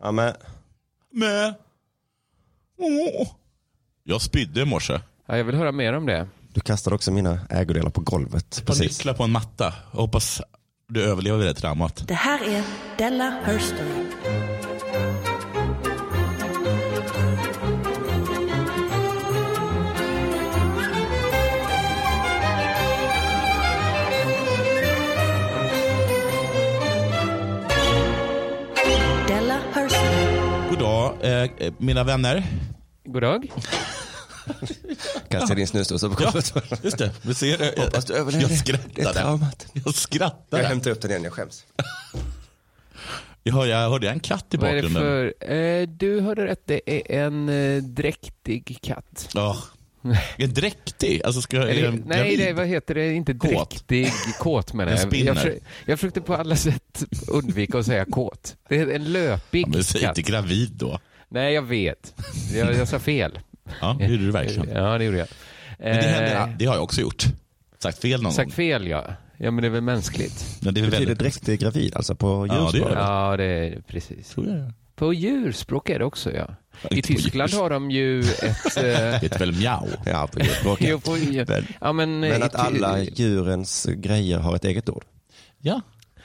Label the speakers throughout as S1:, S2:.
S1: Ja men,
S2: Mä. Åh. Jag spydde i morse.
S3: Ja, jag vill höra mer om det.
S1: du kastar också mina ägodelar på golvet.
S2: Jag
S1: Precis.
S2: nycklar på en matta. Jag hoppas du överlever det traumat.
S4: Det här är Della Herstory. Della Herstory.
S2: God dag, eh, eh, mina vänner.
S3: God dag.
S1: Kastar din snusdosa på golvet.
S2: Just det, vi ser det.
S1: Hoppas du
S2: Jag,
S1: överlever
S2: jag
S1: det
S2: skrattade.
S1: traumat.
S2: Jag
S1: Jag
S2: skrattade.
S1: hämtar upp den igen, jag skäms.
S2: Jag hörde, jag hörde en katt i
S3: Vad är det
S2: bakgrunden.
S3: för... Eh, du hörde rätt, det är en eh, dräktig katt.
S2: Ja. Är dräktig? Alltså ska jag... är
S3: Eller,
S2: den
S3: nej,
S2: gravid?
S3: det, vad heter det? Inte
S2: Kåt.
S3: dräktig. Kåt menar
S2: En
S3: jag.
S2: spinner.
S3: Jag, försö- jag försökte på alla sätt undvika att säga kåt. Det är en löpig
S2: Ja, men säg
S3: katt.
S2: inte gravid då.
S3: Nej, jag vet. Jag, jag sa fel.
S2: Ja, det gjorde du verkligen.
S3: Ja, det gjorde jag.
S2: Men det,
S3: Eh,
S2: händer, det har jag också gjort. Sagt fel någon
S3: Sagt
S2: gång.
S3: fel ja. Ja men det är väl mänskligt.
S2: Men det är
S1: Betyder
S2: väldigt...
S1: dräktig gravid alltså på
S2: Ja, det gör
S1: djurspråk?
S2: det.
S3: Ja det är precis.
S2: Tror jag det.
S3: På djurspråk är det också ja. I
S2: inte på
S3: Tyskland
S2: djurs-
S3: har de ju ett... Eh,
S2: Det heter väl mjau?
S1: Ja, på djurspråket.
S3: jo, på,
S1: Men-
S3: ja, men, eh,
S1: Men
S3: i
S1: att
S3: Ty-
S1: alla djurens grejer har ett eget ord.
S2: Ja.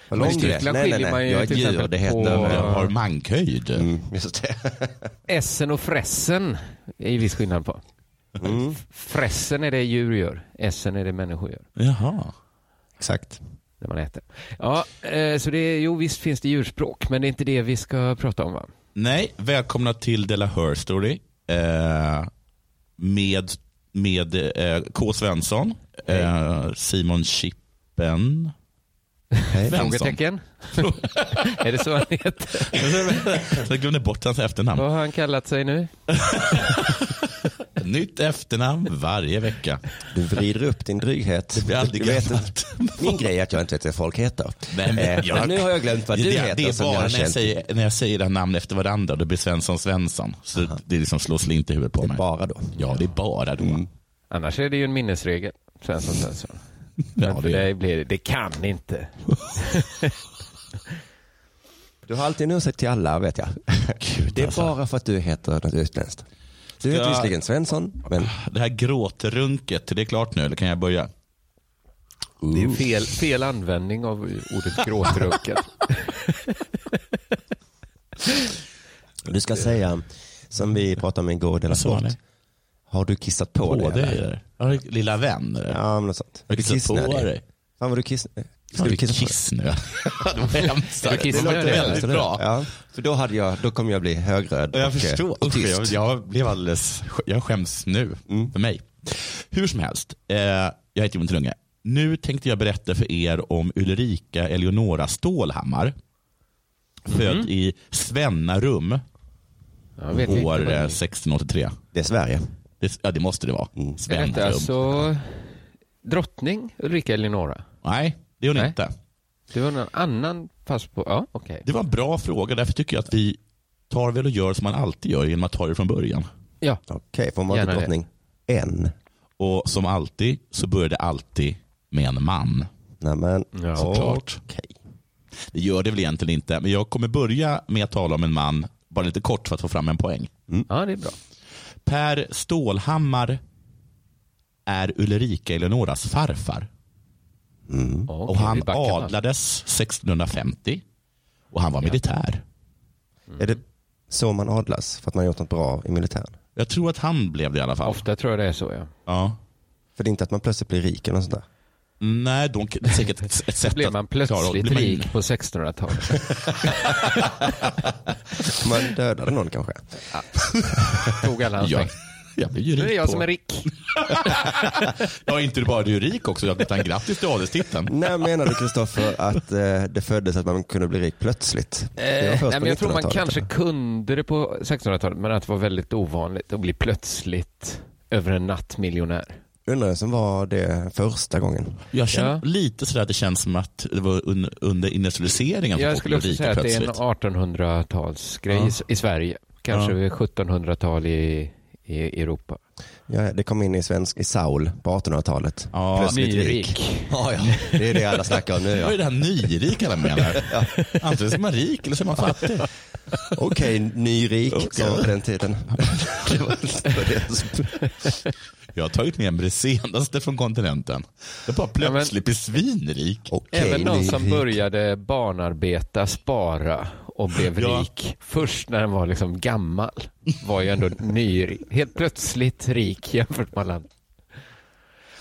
S1: Vad
S3: Men i
S1: långt det är.
S3: Tyskland
S1: Nej, nej,
S3: skiljer man
S1: nej.
S3: ju
S1: Jag är ett
S3: till
S1: djur,
S3: exempel
S1: det heter...
S3: på-
S2: Jag
S3: eh,
S1: Ja.
S2: har mankhöjd.
S1: Mm, just det.
S3: Essen och fressen är ju viss skillnad på.
S1: Mm,
S3: Fressen är det djur gör. Essen är det människor gör.
S2: Jaha.
S1: exakt.
S3: När man äter. Ja, eh, så det är, jo visst finns det djurspråk men det är inte det vi ska prata om va?
S2: Nej, välkomna till Della Her Story. Eh, med med eh, K. Svensson, eh, Simon Chippen. Svensson.
S3: Frågetecken? är det så han heter?
S2: Jag glömde bort hans efternamn.
S3: Vad har han kallat sig nu?
S2: Nytt efternamn varje vecka.
S1: Du vrider upp din dryghet.
S2: Det blir aldrig
S1: Du vet
S2: gammalt.
S1: inte- Min grej är att jag inte vet vad folk heter.
S2: Nej, men
S1: Eh,
S2: jag-
S1: men nu har jag glömt vad du
S2: det,
S1: heter.
S2: det är
S1: som jag
S2: bara
S1: har
S2: när jag,
S1: känt.
S2: säger, när jag säger det här namn efter varandra, då blir Svensson Svensson. Så det liksom slår slint i huvudet på
S1: Det är
S2: mig.
S1: bara Mm. då.
S2: Ja, det är bara då.
S3: Annars är det ju en minnesregel. Svensson, Svensson. Men
S2: Ja,
S3: för
S2: det är
S3: dig blir det, det kan inte.
S1: Du har alltid en ursäkt till alla, vet jag. det är bara för att du heter något utländskt. Du heter
S2: alltså. jag-
S1: visserligen Svensson, men
S2: Det här gråtrunket, är det klart nu eller kan jag börja?
S3: Det är fel, fel användning av ordet gråtrucket.
S1: du ska säga, som vi pratade om igår i Dela
S2: sa
S1: Sport.
S2: ni?
S1: Har du kissat på,
S2: På
S1: dig?
S2: dig
S1: eller?
S2: eller? Ja, Lilla vän eller?
S1: Ja, men något sånt.
S2: Jag kissar på
S1: kissnödig.
S2: dig.
S1: Fan vad du kissnödig. Ska
S2: Har
S1: du
S2: du
S1: kissa på dig?
S2: kiss nu? det var hemskt.
S3: Är du
S2: Det
S3: kissnödig,
S2: låter
S3: eller?
S2: väldigt bra.
S1: Ja, för då, hade jag, då kommer jag bli högröd
S2: Jag
S1: och, eh,
S2: förstår.
S1: och
S2: Usch,
S1: tyst.
S2: jag, jag blev alldeles, jag skäms nu för mig. Hur som helst, eh, jag heter Jon Trunge. Nu tänkte jag berätta för er om Ulrika Eleonora Stålhammar. Född i Svennarum
S3: Jag vet inte.
S2: år
S3: vad det
S2: eh,
S3: är.
S2: 1683.
S1: Det är Sverige.
S2: Det, ja, det måste det vara.
S3: Är
S2: Svennarum.
S3: detta alltså drottning Ulrika Eleonora?
S2: Nej, det är hon
S3: Nej.
S2: inte.
S3: Det var någon annan pass på... Ja, okej.
S2: Det var en bra fråga. Därför tycker jag att vi tar väl och gör som man alltid gör genom att ta det från början.
S3: Ja,
S1: Okej, får man
S3: Gärna
S1: inte
S3: det.
S1: drottning? En.
S2: Och som alltid så börjar det alltid med en man.
S1: Nej, men,
S3: Ja.
S2: Såklart.
S1: Okej.
S2: Det gör det väl egentligen inte, men jag kommer börja med att tala om en man, bara lite kort för att få fram en poäng.
S3: ja det är bra.
S2: Per Stålhammar är Ulrika Eleonoras farfar.
S3: Okej,
S2: Mm. Och han
S3: vi backar fram.
S2: adlades 1650 och han var militär.
S1: Är det så man adlas? För att man har gjort något bra i militären?
S2: Jag tror att han blev det i alla fall.
S3: Ofta tror jag det är så, ja.
S2: Ja.
S1: För det är inte att man plötsligt blir rik eller något sånt där?
S2: Nej, de, det är säkert ett sätt
S3: Blev
S2: att
S3: man
S2: klara-
S3: plötsligt
S2: blir man-
S3: rik på 1600-talet?
S1: Man dödade någon kanske?
S3: Tog alla hans
S2: Ja.
S3: pengar.
S2: Jag blir ju
S3: Nu är det
S2: rik
S3: jag
S2: på-
S3: som är rik.
S2: Ja, inte bara du är rik också. Jag kan grattis till adelstiteln.
S1: När menade Kristoffer att eh, det föddes att man kunde bli rik plötsligt? Det var
S3: Eh,
S1: först
S3: nej,
S1: på
S3: men jag tror man
S1: 1900-talet,
S3: kanske
S1: eller?
S3: kunde det på 1600-talet, men att det var väldigt ovanligt att bli plötsligt över en natt miljonär.
S1: Undrar som var det första gången.
S2: Jag känner
S3: Ja.
S2: lite sådär att det känns som att det var un, under industrialiseringen som
S3: Jag
S2: folk
S3: skulle
S2: blev rika
S3: också säga att det är en
S2: plötsligt.
S3: 1800-talsgrej i, i Sverige. Kanske
S2: Ja.
S3: 1700-tal i, i i Europa.
S1: Ja, det kom in i svensk, i Saul på 1800-talet.
S2: Ja,
S1: Plötsligt
S3: nyrik.
S1: Ja, ja, det är det alla snackar om nu.
S2: Det
S1: Ja.
S2: var ju det här nyrika alla menar. Antingen så är man rik eller så är man fattig.
S1: Okej, nyrik, sa man på den tiden. det var, det var det. som-
S2: Jag har tagit med mig det senaste från kontinenten. Jag bara
S3: men-
S2: plötsligt blir svinrik.
S1: Okej,
S3: Även någon som
S1: nyrik.
S3: började barnarbeta, spara och blev
S2: Ja.
S3: rik först när den var liksom gammal var ju ändå ny, helt plötsligt rik jämfört med alla andra.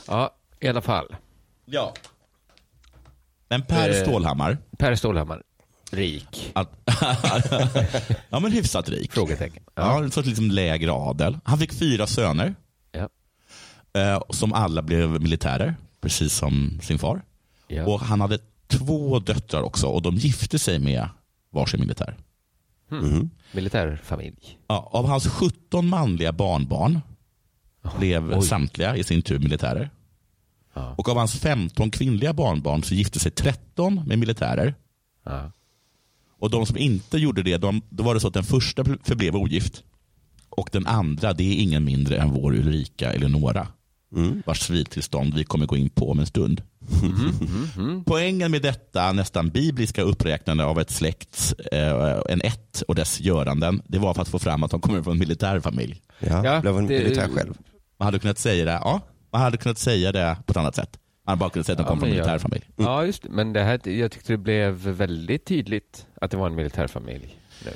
S3: Ja, i alla fall.
S2: Ja. Men Per
S3: Eh.
S2: Stålhammar,
S3: Per Stålhammar, rik?
S2: att, ja men hyfsat rik.
S3: Frågetecken.
S2: Ja, en sorts liksom lägre adel. Han fick fyra söner
S3: Ja.
S2: eh, som alla blev militärer, precis som sin far.
S3: Ja.
S2: Och han hade två döttrar också och de gifte sig med varsin militär.
S3: Militärfamilj.
S2: Ja, av hans 17 manliga barnbarn blev samtliga i sin tur militärer.
S3: Ja.
S2: Och av hans 15 kvinnliga barnbarn så gifte sig 13 med militärer.
S3: Ja.
S2: Och de som inte gjorde det, de, då var det så att den första förblev ogift. Och den andra, det är ingen mindre än vår Ulrika Eleonora. Vars civiltillstånd vi kommer gå in på om en stund.
S3: Mm-hmm.
S2: Poängen med detta nästan bibliska uppräknande av ett släkts, eh, en ett och dess göranden, det var för att få fram att de kommer från en militärfamilj.
S1: Ja,
S3: Ja,
S1: blev en
S3: det-
S1: militär själv.
S2: Man hade kunnat säga det, ja, man hade kunnat säga det på ett annat sätt. Man hade bara kunnat säga att de
S3: Ja,
S2: kom från en
S3: men ja.
S2: militärfamilj.
S3: ja, just det. Men det här, jag tyckte det blev väldigt tydligt att det var en militärfamilj. Nu.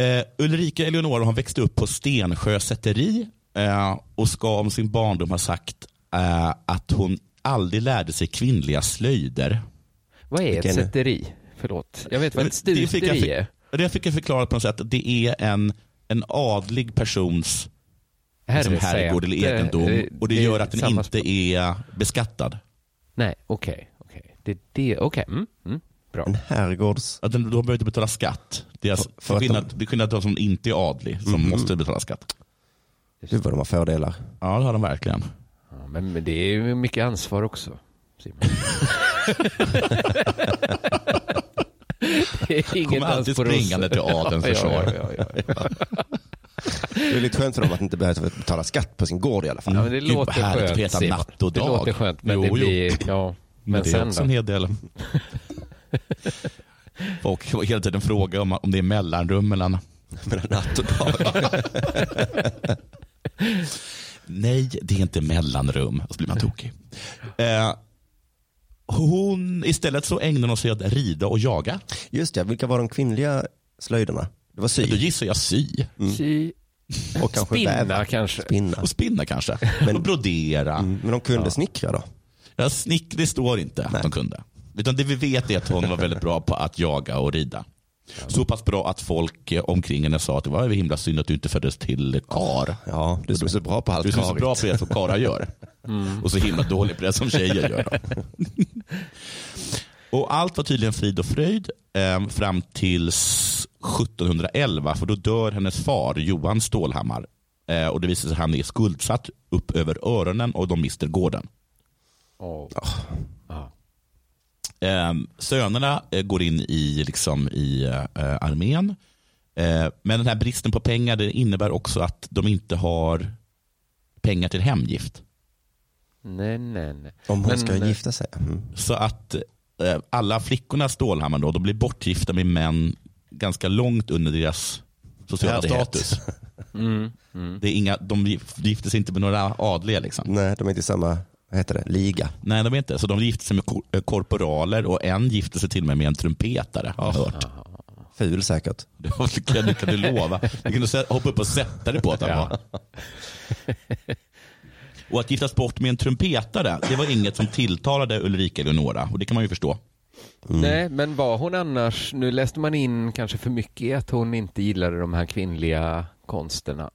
S2: Eh, Ulrika Eleonora har växt upp på Stensjö säteri eh, och ska om sin barndom ha sagt eh, att hon aldrig lärde sig kvinnliga slöjder.
S3: Vad är
S1: Vilken-
S3: ett sätteri? Förlåt. Jag vet vad ett
S2: Eh, Det fick jag,
S3: stuteri är.
S2: för- det fick jag förklara på något sätt att det är en, en adlig persons liksom,
S3: Herresäte.
S2: herrgård eller egendom och det,
S3: eh, är
S2: gör att den
S3: samma
S2: inte
S3: språk.
S2: är beskattad.
S3: Nej, okej. okej. Det är det. Okej. Mm, mm, bra.
S1: En herrgårds...
S2: Att den, de behöver inte betala skatt. Det är, alltså,
S1: För- för
S2: för
S1: att Mhm.
S2: skillnad, det är skillnad till de som inte är adlig som måste betala skatt.
S1: Gud vad de har fördelar.
S2: Ja, det har de verkligen.
S3: Ja, men, men det är ju mycket ansvar också. Simon. det är ingen
S2: Kommer alltid
S3: ansvar hos-
S2: springande till adelns försvar.
S3: Ja, ja, ja, ja.
S1: Det är lite skönt för dem att inte behöva betala skatt på sin gård i alla fall.
S3: Ja, men det
S2: Gud, vad
S3: låter
S2: härligt att
S3: skönt.
S2: veta
S3: Simon.
S2: natt och
S3: Det
S2: dag.
S3: låter skönt, men
S2: Jo,
S3: det
S2: jo.
S3: blir... Ja, men,
S2: Men det är
S3: sen
S2: också
S3: då?
S2: en hel del. Och hela tiden fråga om, om det är mellanrum mellan...
S1: Mellan natt och dag.
S2: Nej, det är inte mellanrum. Och så blir man tokig. Eh, hon, istället så ägnar hon sig åt att rida och jaga.
S1: Just det, vilka var de kvinnliga slöjderna? Det var
S2: Då
S1: sy
S2: gissar jag sy.
S3: Sy-
S1: och kanske
S3: Spinna
S1: väva.
S3: kanske.
S1: Spinna.
S2: Och spinna kanske. och brodera.
S1: Mm, Men de kunde snickra då?
S2: Ja, snick, det står inte att hon kunde. Utan det vi vet är att hon var väldigt bra på att jaga och rida. Så pass bra att folk eh, omkring henne sa att det var himla synd att du inte föddes till kar.
S1: Ja, du som är så bra på allt
S2: Du är så
S1: karigt.
S2: bra på det som karlar gör. Och så himla dålig på det som tjejer gör. och allt var tydligen frid och fröjd eh, fram till 1711. För då dör hennes far Johan Stålhammar. Eh, och det visar sig att han är skuldsatt upp över öronen och de mister gården.
S3: Åh.
S2: Ah.
S3: Ja.
S2: Eh, sönerna eh, går in i, liksom, i eh, armén. Eh, men den här bristen på pengar det innebär också att de inte har pengar till hemgift.
S3: Nej, nej, nej.
S1: Om hon
S3: Men,
S1: ska
S3: eh,
S1: gifta sig. Mm.
S2: Så att eh, alla flickorna i Stålhammar då, de blir bortgifta med män ganska långt under deras sociala
S1: Värdighet.
S2: status. Det är inga, de gif- gifter sig inte med några adliga. Liksom.
S1: Nej, de är inte i samma, vad heter det, liga.
S2: Nej, de är inte. Så de gifter sig med kor- eh, korporaler och en gifter sig till och med med en trumpetare. Har jag hört.
S1: Ful säkert.
S2: Det var- det kan, det kan du lova. Du kan sä- hoppa upp och sätta dig på att han var. Och att giftas bort med en trumpetare, det var inget som tilltalade Ulrika Eleonora. Och det kan man ju förstå. Mm.
S3: Nej, men var hon annars, nu läste man in kanske för mycket i att hon inte gillade de här kvinnliga konsterna.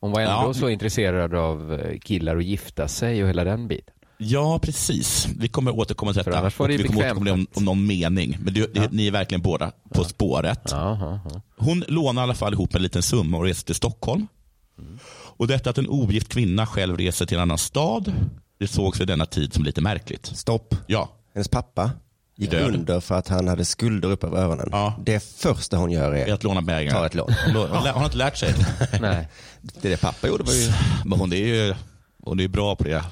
S3: Hon var ändå
S2: Ja.
S3: så intresserad av eh, killar och gifta sig och hela den biten.
S2: Ja, precis. Vi kommer återkomma till
S3: För
S2: detta.
S3: annars var det
S2: Och vi
S3: ju
S2: kommer
S3: bekvämt
S2: återkomma till det om, om någon mening. Men det, det, ni är verkligen båda på spåret.
S3: Jaha, ja.
S2: Hon lånade i alla fall ihop en liten summa och reste till Stockholm. Mm. Och detta att en ogift kvinna själv reser till en annan stad, det sågs vid denna tid som lite märkligt.
S1: Stopp.
S2: Ja,
S1: Hennes pappa gick
S2: Död.
S1: under för att han hade skulder upp över öronen.
S2: Ja.
S1: Det första hon gör
S2: Det är
S1: är
S2: att låna pengar.
S1: Ta ett lån.
S2: Hon har hon har inte lärt sig.
S3: Nej.
S1: Det där pappa gjorde var ju...
S2: Men hon är ju hon är ju bra på det.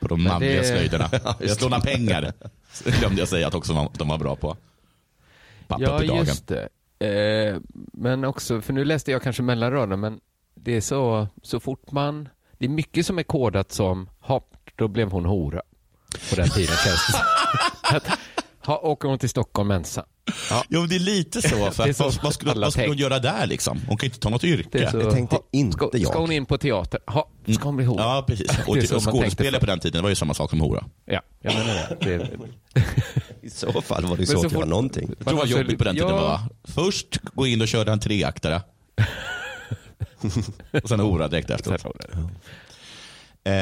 S2: På de manliga
S3: det-
S2: slöjderna. Att låna pengar glömde jag säga att också de- de var bra på. Pappa
S3: Ja,
S2: på dagen.
S3: just det. Eh, men också, för nu läste jag kanske mellan raderna, men det är så, så fort man, det är mycket som är kodat som, hopp, då blev hon hora. På den tiden känns det som. Att, ha, åker hon till Stockholm ensam.
S2: Jo, men det är lite så. För
S3: Det är
S2: att
S3: så
S2: vad, vad skulle,
S3: alla
S2: vad skulle hon
S3: tänker.
S2: göra där liksom? Hon kan ju inte ta något yrke.
S3: Det är så,
S1: Det tänkte
S3: ha,
S1: inte
S3: ska,
S1: jag. Mm.
S3: Ska hon in på teater? Ha, ska hon bli hora?
S2: Ja, precis. Och,
S3: Det är
S2: och
S3: så man tänkte
S2: skådespelare
S3: för-
S2: på den tiden var ju samma sak som hora.
S3: Ja, jag menar det. det är,
S1: I så fall var det ju
S3: Men
S1: svårt
S3: så
S1: att göra
S3: fort-
S1: någonting.
S2: Jag tror det var
S3: alltså,
S2: jobbigt på den tiden.
S3: ja.
S2: Va? Först gå in och köra en treaktare. och sen hora direkt efteråt. Eh,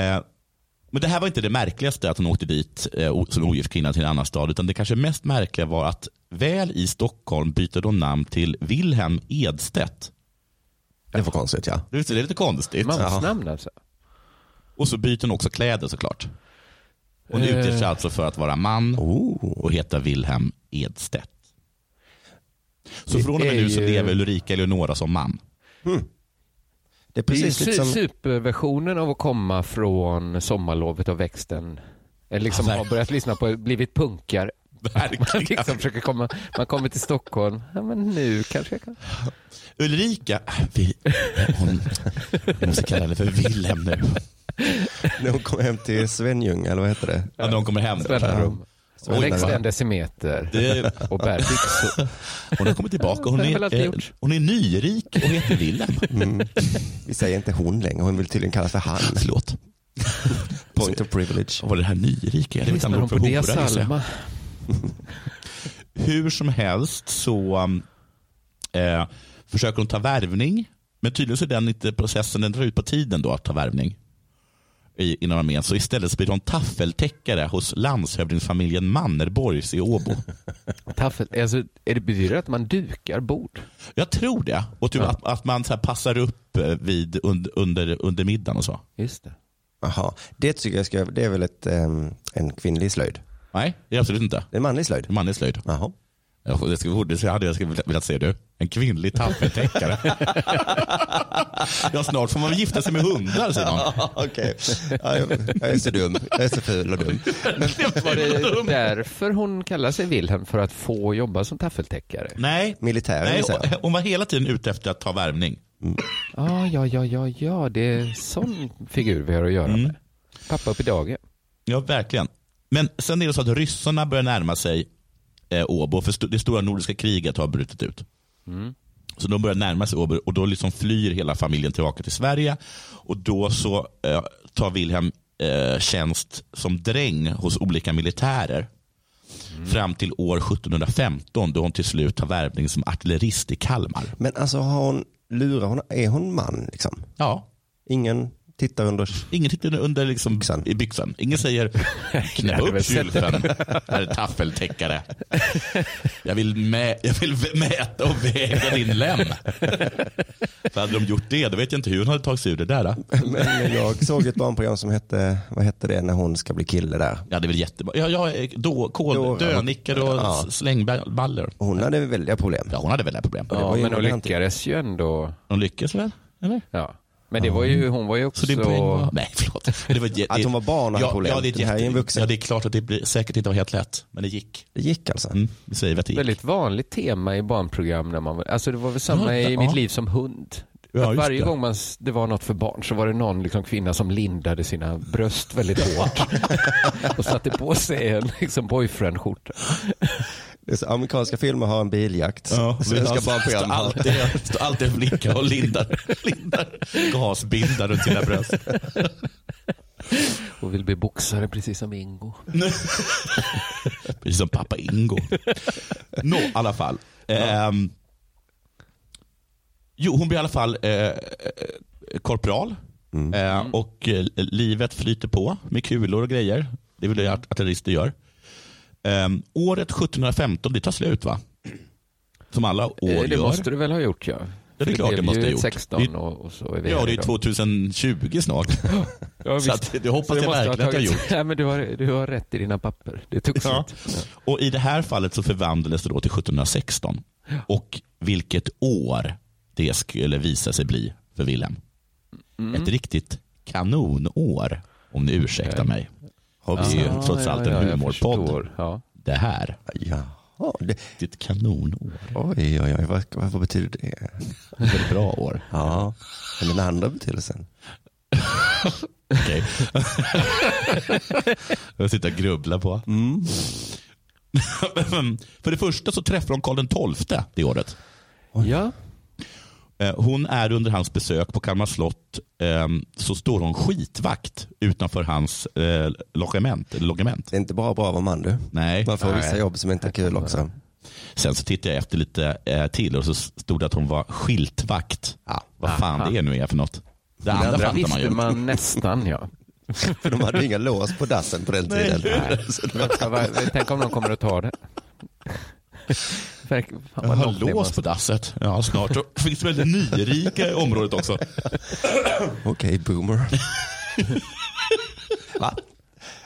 S2: men det här var inte det märkligaste att hon åkte dit eh, o- som ogift kvinna till en annan stad. Utan det kanske mest märkliga var att väl i Stockholm byter hon namn till Wilhelm Edstedt.
S1: Det var konstigt ja.
S2: Det är lite konstigt.
S3: Mansnamn alltså?
S2: Och så byter hon också kläder såklart. Hon utger sig alltså för att vara man och heta Wilhelm Edstedt. Så
S3: Det
S2: från och med
S3: är
S2: nu så
S3: ju-
S2: lever Ulrika Eleonora som man.
S1: Det är
S3: Det är ju
S1: precis liksom-
S3: su-
S1: lite som...
S3: superversionen av att komma från sommarlovet av växten. Eller liksom
S2: Ja, verkligen.
S3: har börjat lyssna på, blivit punkare. Man,
S2: Verkligen.
S3: liksom försöker komma, man kommer till Stockholm. Ja, men nu kanske jag kan.
S2: Ulrika, vi, hon, jag måste kalla henne för Wilhelm nu.
S1: När hon kom hem till Svenljunga, eller vad heter det?
S2: Ja, när hon kommer hem.
S3: Ställa rum.
S1: Så
S3: Och
S1: hon-
S3: växte en decimeter.
S2: Det,
S3: Och bär byxor.
S2: hon har kommit tillbaka. Hon
S3: Det har väl
S2: är,
S3: alltid
S2: eh,
S3: gjorts.
S2: hon är nyrik och heter Wilhelm.
S1: Vi säger inte hon längre, hon vill tydligen kallas för han.
S2: Förlåt.
S1: Point of privilege.
S2: Vad var det här nyrika? Jag vet inte
S3: Lyssnar
S2: om
S3: de
S2: hon
S3: på
S2: för
S3: det
S2: hora, gissar jag.
S3: Salma?
S2: Hur som helst så um, eh, försöker hon ta värvning. Men tydligen så är den inte processen, den drar ut på tiden då att ta värvning i, inom armén. Så istället så blir hon taffeltäckare hos landshövdingsfamiljen Mannerborgs i Åbo.
S3: Taffel. Alltså, är det betyder det att man dukar bord?
S2: Jag tror det. Och typ att, att man så här passar upp eh, vid und, under, under middagen och så.
S3: Just det.
S1: Jaha, det tycker jag ska, det är väl ett, ehm, en kvinnlig slöjd?
S2: Nej, det är absolut inte.
S1: Det är en manlig slöjd?
S2: Manlig slöjd.
S1: Jaha.
S2: Ja, Det, skulle, det hade jag skulle vilja- velat se du. En kvinnlig taffeltäckare. ja, snart får man väl gifta sig med hundar, säger någon.
S1: Okej, ja, jag, jag är så dum. Jag är så ful och dum.
S3: Var det därför hon kallar sig Wilhelm? För att få jobba som taffeltäckare?
S2: Nej,
S1: Militären
S2: Nej
S1: gissar jag.
S2: hon, hon var hela tiden ute efter att ta värvning.
S3: Ja, Ah, ja, ja, ja, ja, det är sån figur vi har att göra med. Pappa upp i dagen.
S2: Mm. Ja, verkligen. Men sen är det så att ryssarna börjar närma sig eh, Åbo, för st- det stora nordiska kriget har brutit ut. Så de börjar närma sig Åbo och då liksom flyr hela familjen tillbaka till Sverige. Och då så eh, tar Wilhelm eh, tjänst som dräng hos olika militärer. Fram till år 1715 då hon till slut tar värvning som artillerist i Kalmar.
S1: Men alltså har hon, lurar hon, är hon man liksom?
S2: Ja,
S1: Ingen tittar under,
S2: Ingen tittar under liksom
S1: Byxan.
S2: i byxan. Ingen säger knäpp
S3: hade väl
S2: upp
S3: sett
S2: kylfen, herr taffeltäckare. Jag vill, mä- jag vill vä- mäta och väga din lem. För hade de gjort det, då vet jag inte hur hon hade tagit sig ur det där. Då.
S1: men jag såg ett barnprogram som hette, vad hette det när hon ska bli kille där?
S2: Ja, det är väl jättebra. Ja, ja, eh, då, kol,
S1: Då-
S2: dönickor och
S1: Ja.
S2: ja. slängballer.
S1: Hon hade väldiga problem.
S2: Ja, hon hade väl det här problem.
S1: det var
S3: Ja,
S1: ju
S3: men hon
S1: briljant.
S3: lyckades ju ändå.
S2: Hon lyckades väl? Eller?
S3: Ja. Men det var ju, hon var ju
S2: Så
S3: också...
S2: din poäng var... Nej, förlåt. Det var, jä-
S1: Att hon var barn och hade
S2: ja,
S1: problem.
S2: Ja, det, är
S1: Det här är
S2: jätte-
S1: en vuxen.
S2: ja, det är klart att det blir, säkert inte var helt lätt. Men det gick.
S1: Det gick alltså.
S2: Mm, vi säger att det gick.
S3: Väldigt vanligt tema i barnprogram när man var, alltså det var väl samma i
S2: Ja.
S3: mitt liv som hund.
S2: Ja,
S3: Att
S2: just
S3: varje
S2: det.
S3: gång man, s- det var något för barn så var det någon liksom kvinna som lindade sina bröst väldigt hårt och satte på sig en liksom boyfriendskjorta.
S1: Det är så, amerikanska filmer har en biljakt.
S2: Ja,
S1: Svenska
S2: han står
S1: barnprogram har.
S2: Alltså, alltid, står alltid och blinkar och lindar, lindar gasbindar runt sina bröst.
S3: Och vill bli boxare precis som Ingo.
S2: Precis som pappa Ingo. Nå, i alla fall. Ehm, jo, hon blir i alla fall eh, eh, korpral.
S3: Mm.
S2: Eh, och eh, livet flyter på med kulor och grejer. Det vill jag att artillerister gör. Ehm, året 1715, det tar slut va? Som alla år
S3: Eh, Det
S2: gör.
S3: måste du väl ha gjort ja.
S2: Ja, det är klart det
S3: blev
S2: måste
S3: ju
S2: ha
S3: ett
S2: gjort.
S3: 16
S2: Det-
S3: och, och så är vi
S2: Ja,
S3: här
S2: det är
S3: idag.
S2: 2020 snart.
S3: Ja,
S2: Så
S3: visst.
S2: att, det hoppas
S3: Så det
S2: jag
S3: måste ha
S2: verkligen att jag har
S3: tagit-
S2: gjort.
S3: Nej, men du, har, du har rätt i dina papper. Det är
S2: Ja.
S3: tuxigt.
S2: Och I det här fallet så förvandlades det då till 1716. Och vilket år det skulle visa sig bli för Wilhelm. Ett riktigt kanonår, om ni ursäktar mig. Har vi ju trots allt en humorpodd.
S3: förstår. Ja.
S2: Det här,
S1: Jaha, det,
S2: det är ett kanonår.
S1: oj, oj, oj, vad, vad, vad betyder det?
S2: Det är ett bra år.
S1: Ja, men den andra betydelsen.
S2: Okej. jag sitter och grubblar på. För det första så träffar hon Karl XII det året.
S3: ja,
S2: Eh, Hon är under hans besök på Kalmar slott eh, så står hon skitvakt utanför hans eh, logement. eller logement.
S1: Det är inte bara bra att vara man du.
S2: Nej.
S1: Man får
S2: Nej.
S1: vissa jobb som inte är kul också.
S2: Sen så tittade jag efter lite eh, till och så stod det att hon var skiltvakt. Vad fan det är nu är för något. Det andra fattar man ju.
S3: visste man nästan ja.
S1: För de hade ju inga lås på dassen på den tiden. Så det var-
S3: Ja, vad- Tänk om någon kommer att ta det. Verk- Fan,
S2: Jag
S3: vad
S2: har
S3: långt det
S2: lås
S3: måste-
S2: på dasset. Ja, snart. Det finns väldigt nyrika i området också.
S1: Okej, boomer. Va?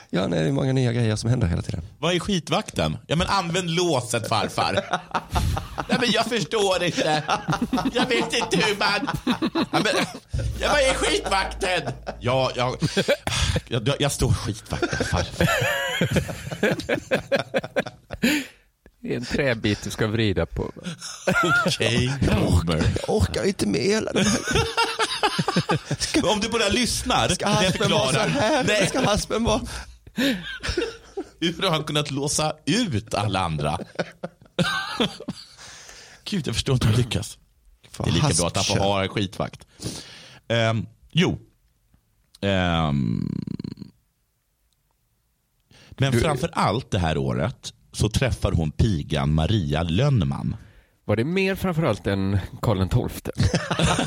S1: Ja, nej, det är många nya grejer som händer hela tiden.
S2: Vad är skitvakten? Ja men använd låset farfar. Nej men jag förstår inte. Jag vet inte hur man... Ja, men... ja, vad är skitvakten? Ja, jag... Jag, jag, jag står skitvakten farfar.
S3: Det är en träbit du ska vrida på.
S2: Okej, boomer.
S1: Jag orkar inte med hela den här.
S2: Om du bara lyssnar.
S1: Ska
S2: det
S1: haspen vara så
S2: förklarar.
S1: här?
S2: Nej,
S1: Ska haspen vara...
S2: hur har han kunnat låsa ut alla andra? Gud, jag förstår inte hur han lyckas. Det är lika bra att han får ha en skitvakt. Ehm, jo. Ehm. men framför allt det här året så träffar hon pigan Maria Lönnman.
S3: Var det mer framförallt än Karl XII?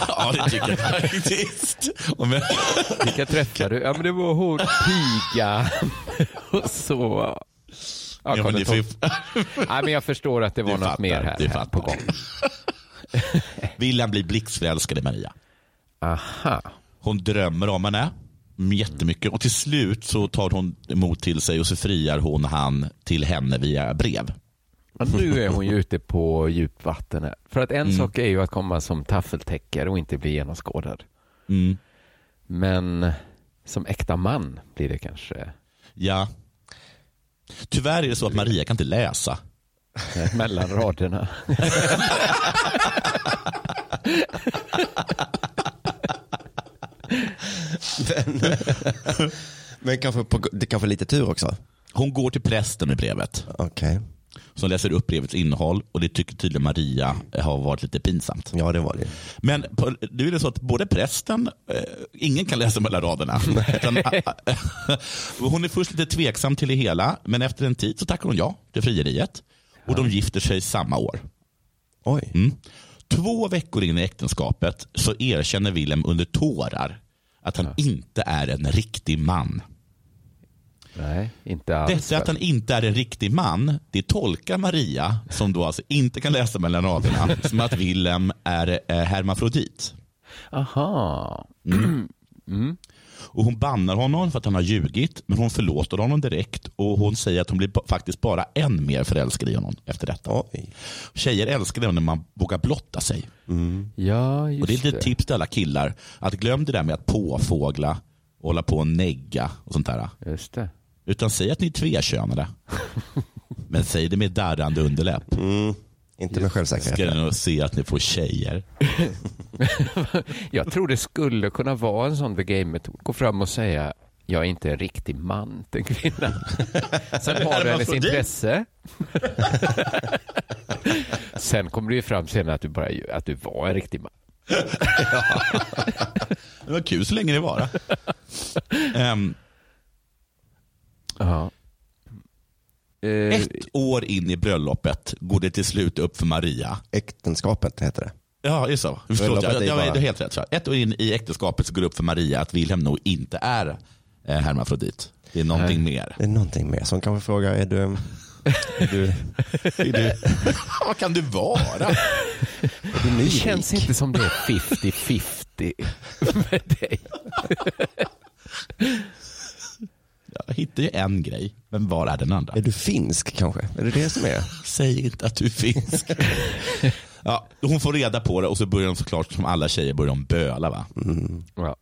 S2: ja, det tycker jag faktiskt. Och men-
S3: Vilka träffade du? Ja, men det var hon, piga och så. Ja,
S2: Ja, men
S3: Karl
S2: ni
S3: XII.
S2: får ju-
S3: Nej, men jag förstår att det var
S2: Du
S3: något
S2: fattar,
S3: mer här,
S2: du
S3: här
S2: fattar.
S3: på gång.
S2: Vill han bli blixtförälskad i Maria?
S3: Aha.
S2: Hon drömmer om henne jättemycket och till slut så tar hon emot till sig och så friar hon han till henne via brev.
S3: Ja, nu är hon ju ute på djupvatten här. För att en sak är ju att komma som taffeltäckare och inte bli genomskådad.
S2: Mm.
S3: Men som äkta man blir det kanske
S2: Ja. Tyvärr är det så att Maria kan inte läsa.
S3: eh, mellan raderna.
S1: Men kanske på, det är kanske lite tur också.
S2: Hon går till prästen med brevet
S1: Okej.
S2: som läser upp brevets innehåll och det tycker tydligen Maria har varit lite pinsamt.
S1: Ja, det var det ju.
S2: Men på- nu är det så att både prästen, eh, ingen kan läsa mellan raderna. Utan, eh, hon är först lite tveksam till det hela men efter en tid så tackar hon ja till frieriet och de gifter sig samma år.
S1: Oj.
S2: Mm. Två veckor in i äktenskapet så erkänner Willem under tårar att han inte är en riktig man.
S3: Nej, inte alls.
S2: Detta att han inte är en riktig man, det tolkar Maria, som då alltså inte kan läsa mellan raderna, som att Willem är eh, hermafrodit.
S3: Aha.
S2: Och hon bannar honom för att han har ljugit, men hon förlåter honom direkt och hon säger att hon blir ba- faktiskt bara än mer förälskad i honom efter detta.
S1: Oj.
S2: Tjejer älskar det när man vågar blotta sig.
S3: Ja, just
S2: Och det är
S3: typ-
S2: ett tips till alla killar, att glöm det där med att påfågla och hålla på och negga och sånt där.
S3: Just det.
S2: Utan säg att ni är tvekönade. Men säg det med darrande underläpp.
S1: Inte med självsäkerhet.
S2: Ska ni nog se att ni får tjejer.
S3: Jag tror det skulle kunna vara en sån the game-metod. Gå fram och säga jag är inte en riktig man till en kvinna. Sen har du hennes
S2: Hermafrodit.
S3: intresse. Sen kommer det ju fram senare att du, bara, att du var en riktig man.
S2: Det var kul så länge det var. Ehm,
S3: Ja. Eh,
S2: ett år in i bröllopet går det till slut upp för Maria.
S1: Äktenskapet heter det.
S2: Ja, det är så. Förlåt,
S1: Bröllopet
S2: jag,
S1: är
S2: jag,
S1: bara-
S2: jag är helt rätt. Så här. Ett år in i äktenskapet så går det upp för Maria att Wilhelm nog inte är eh, hermafrodit. Det är någonting mer.
S1: Det är någonting mer som kanske frågar, är du... Är du, är du
S2: Vad kan du vara?
S1: Är du
S3: Det
S1: nyrik?
S3: känns inte som det är 50-50 med dig.
S2: Jag hittade ju en grej, men var är den andra?
S1: Är du finsk kanske? Är det det som är?
S2: Säg inte att du är finsk. ja, hon får reda på det och så börjar de såklart, som alla tjejer, börjar de böla. Va?
S3: Ja.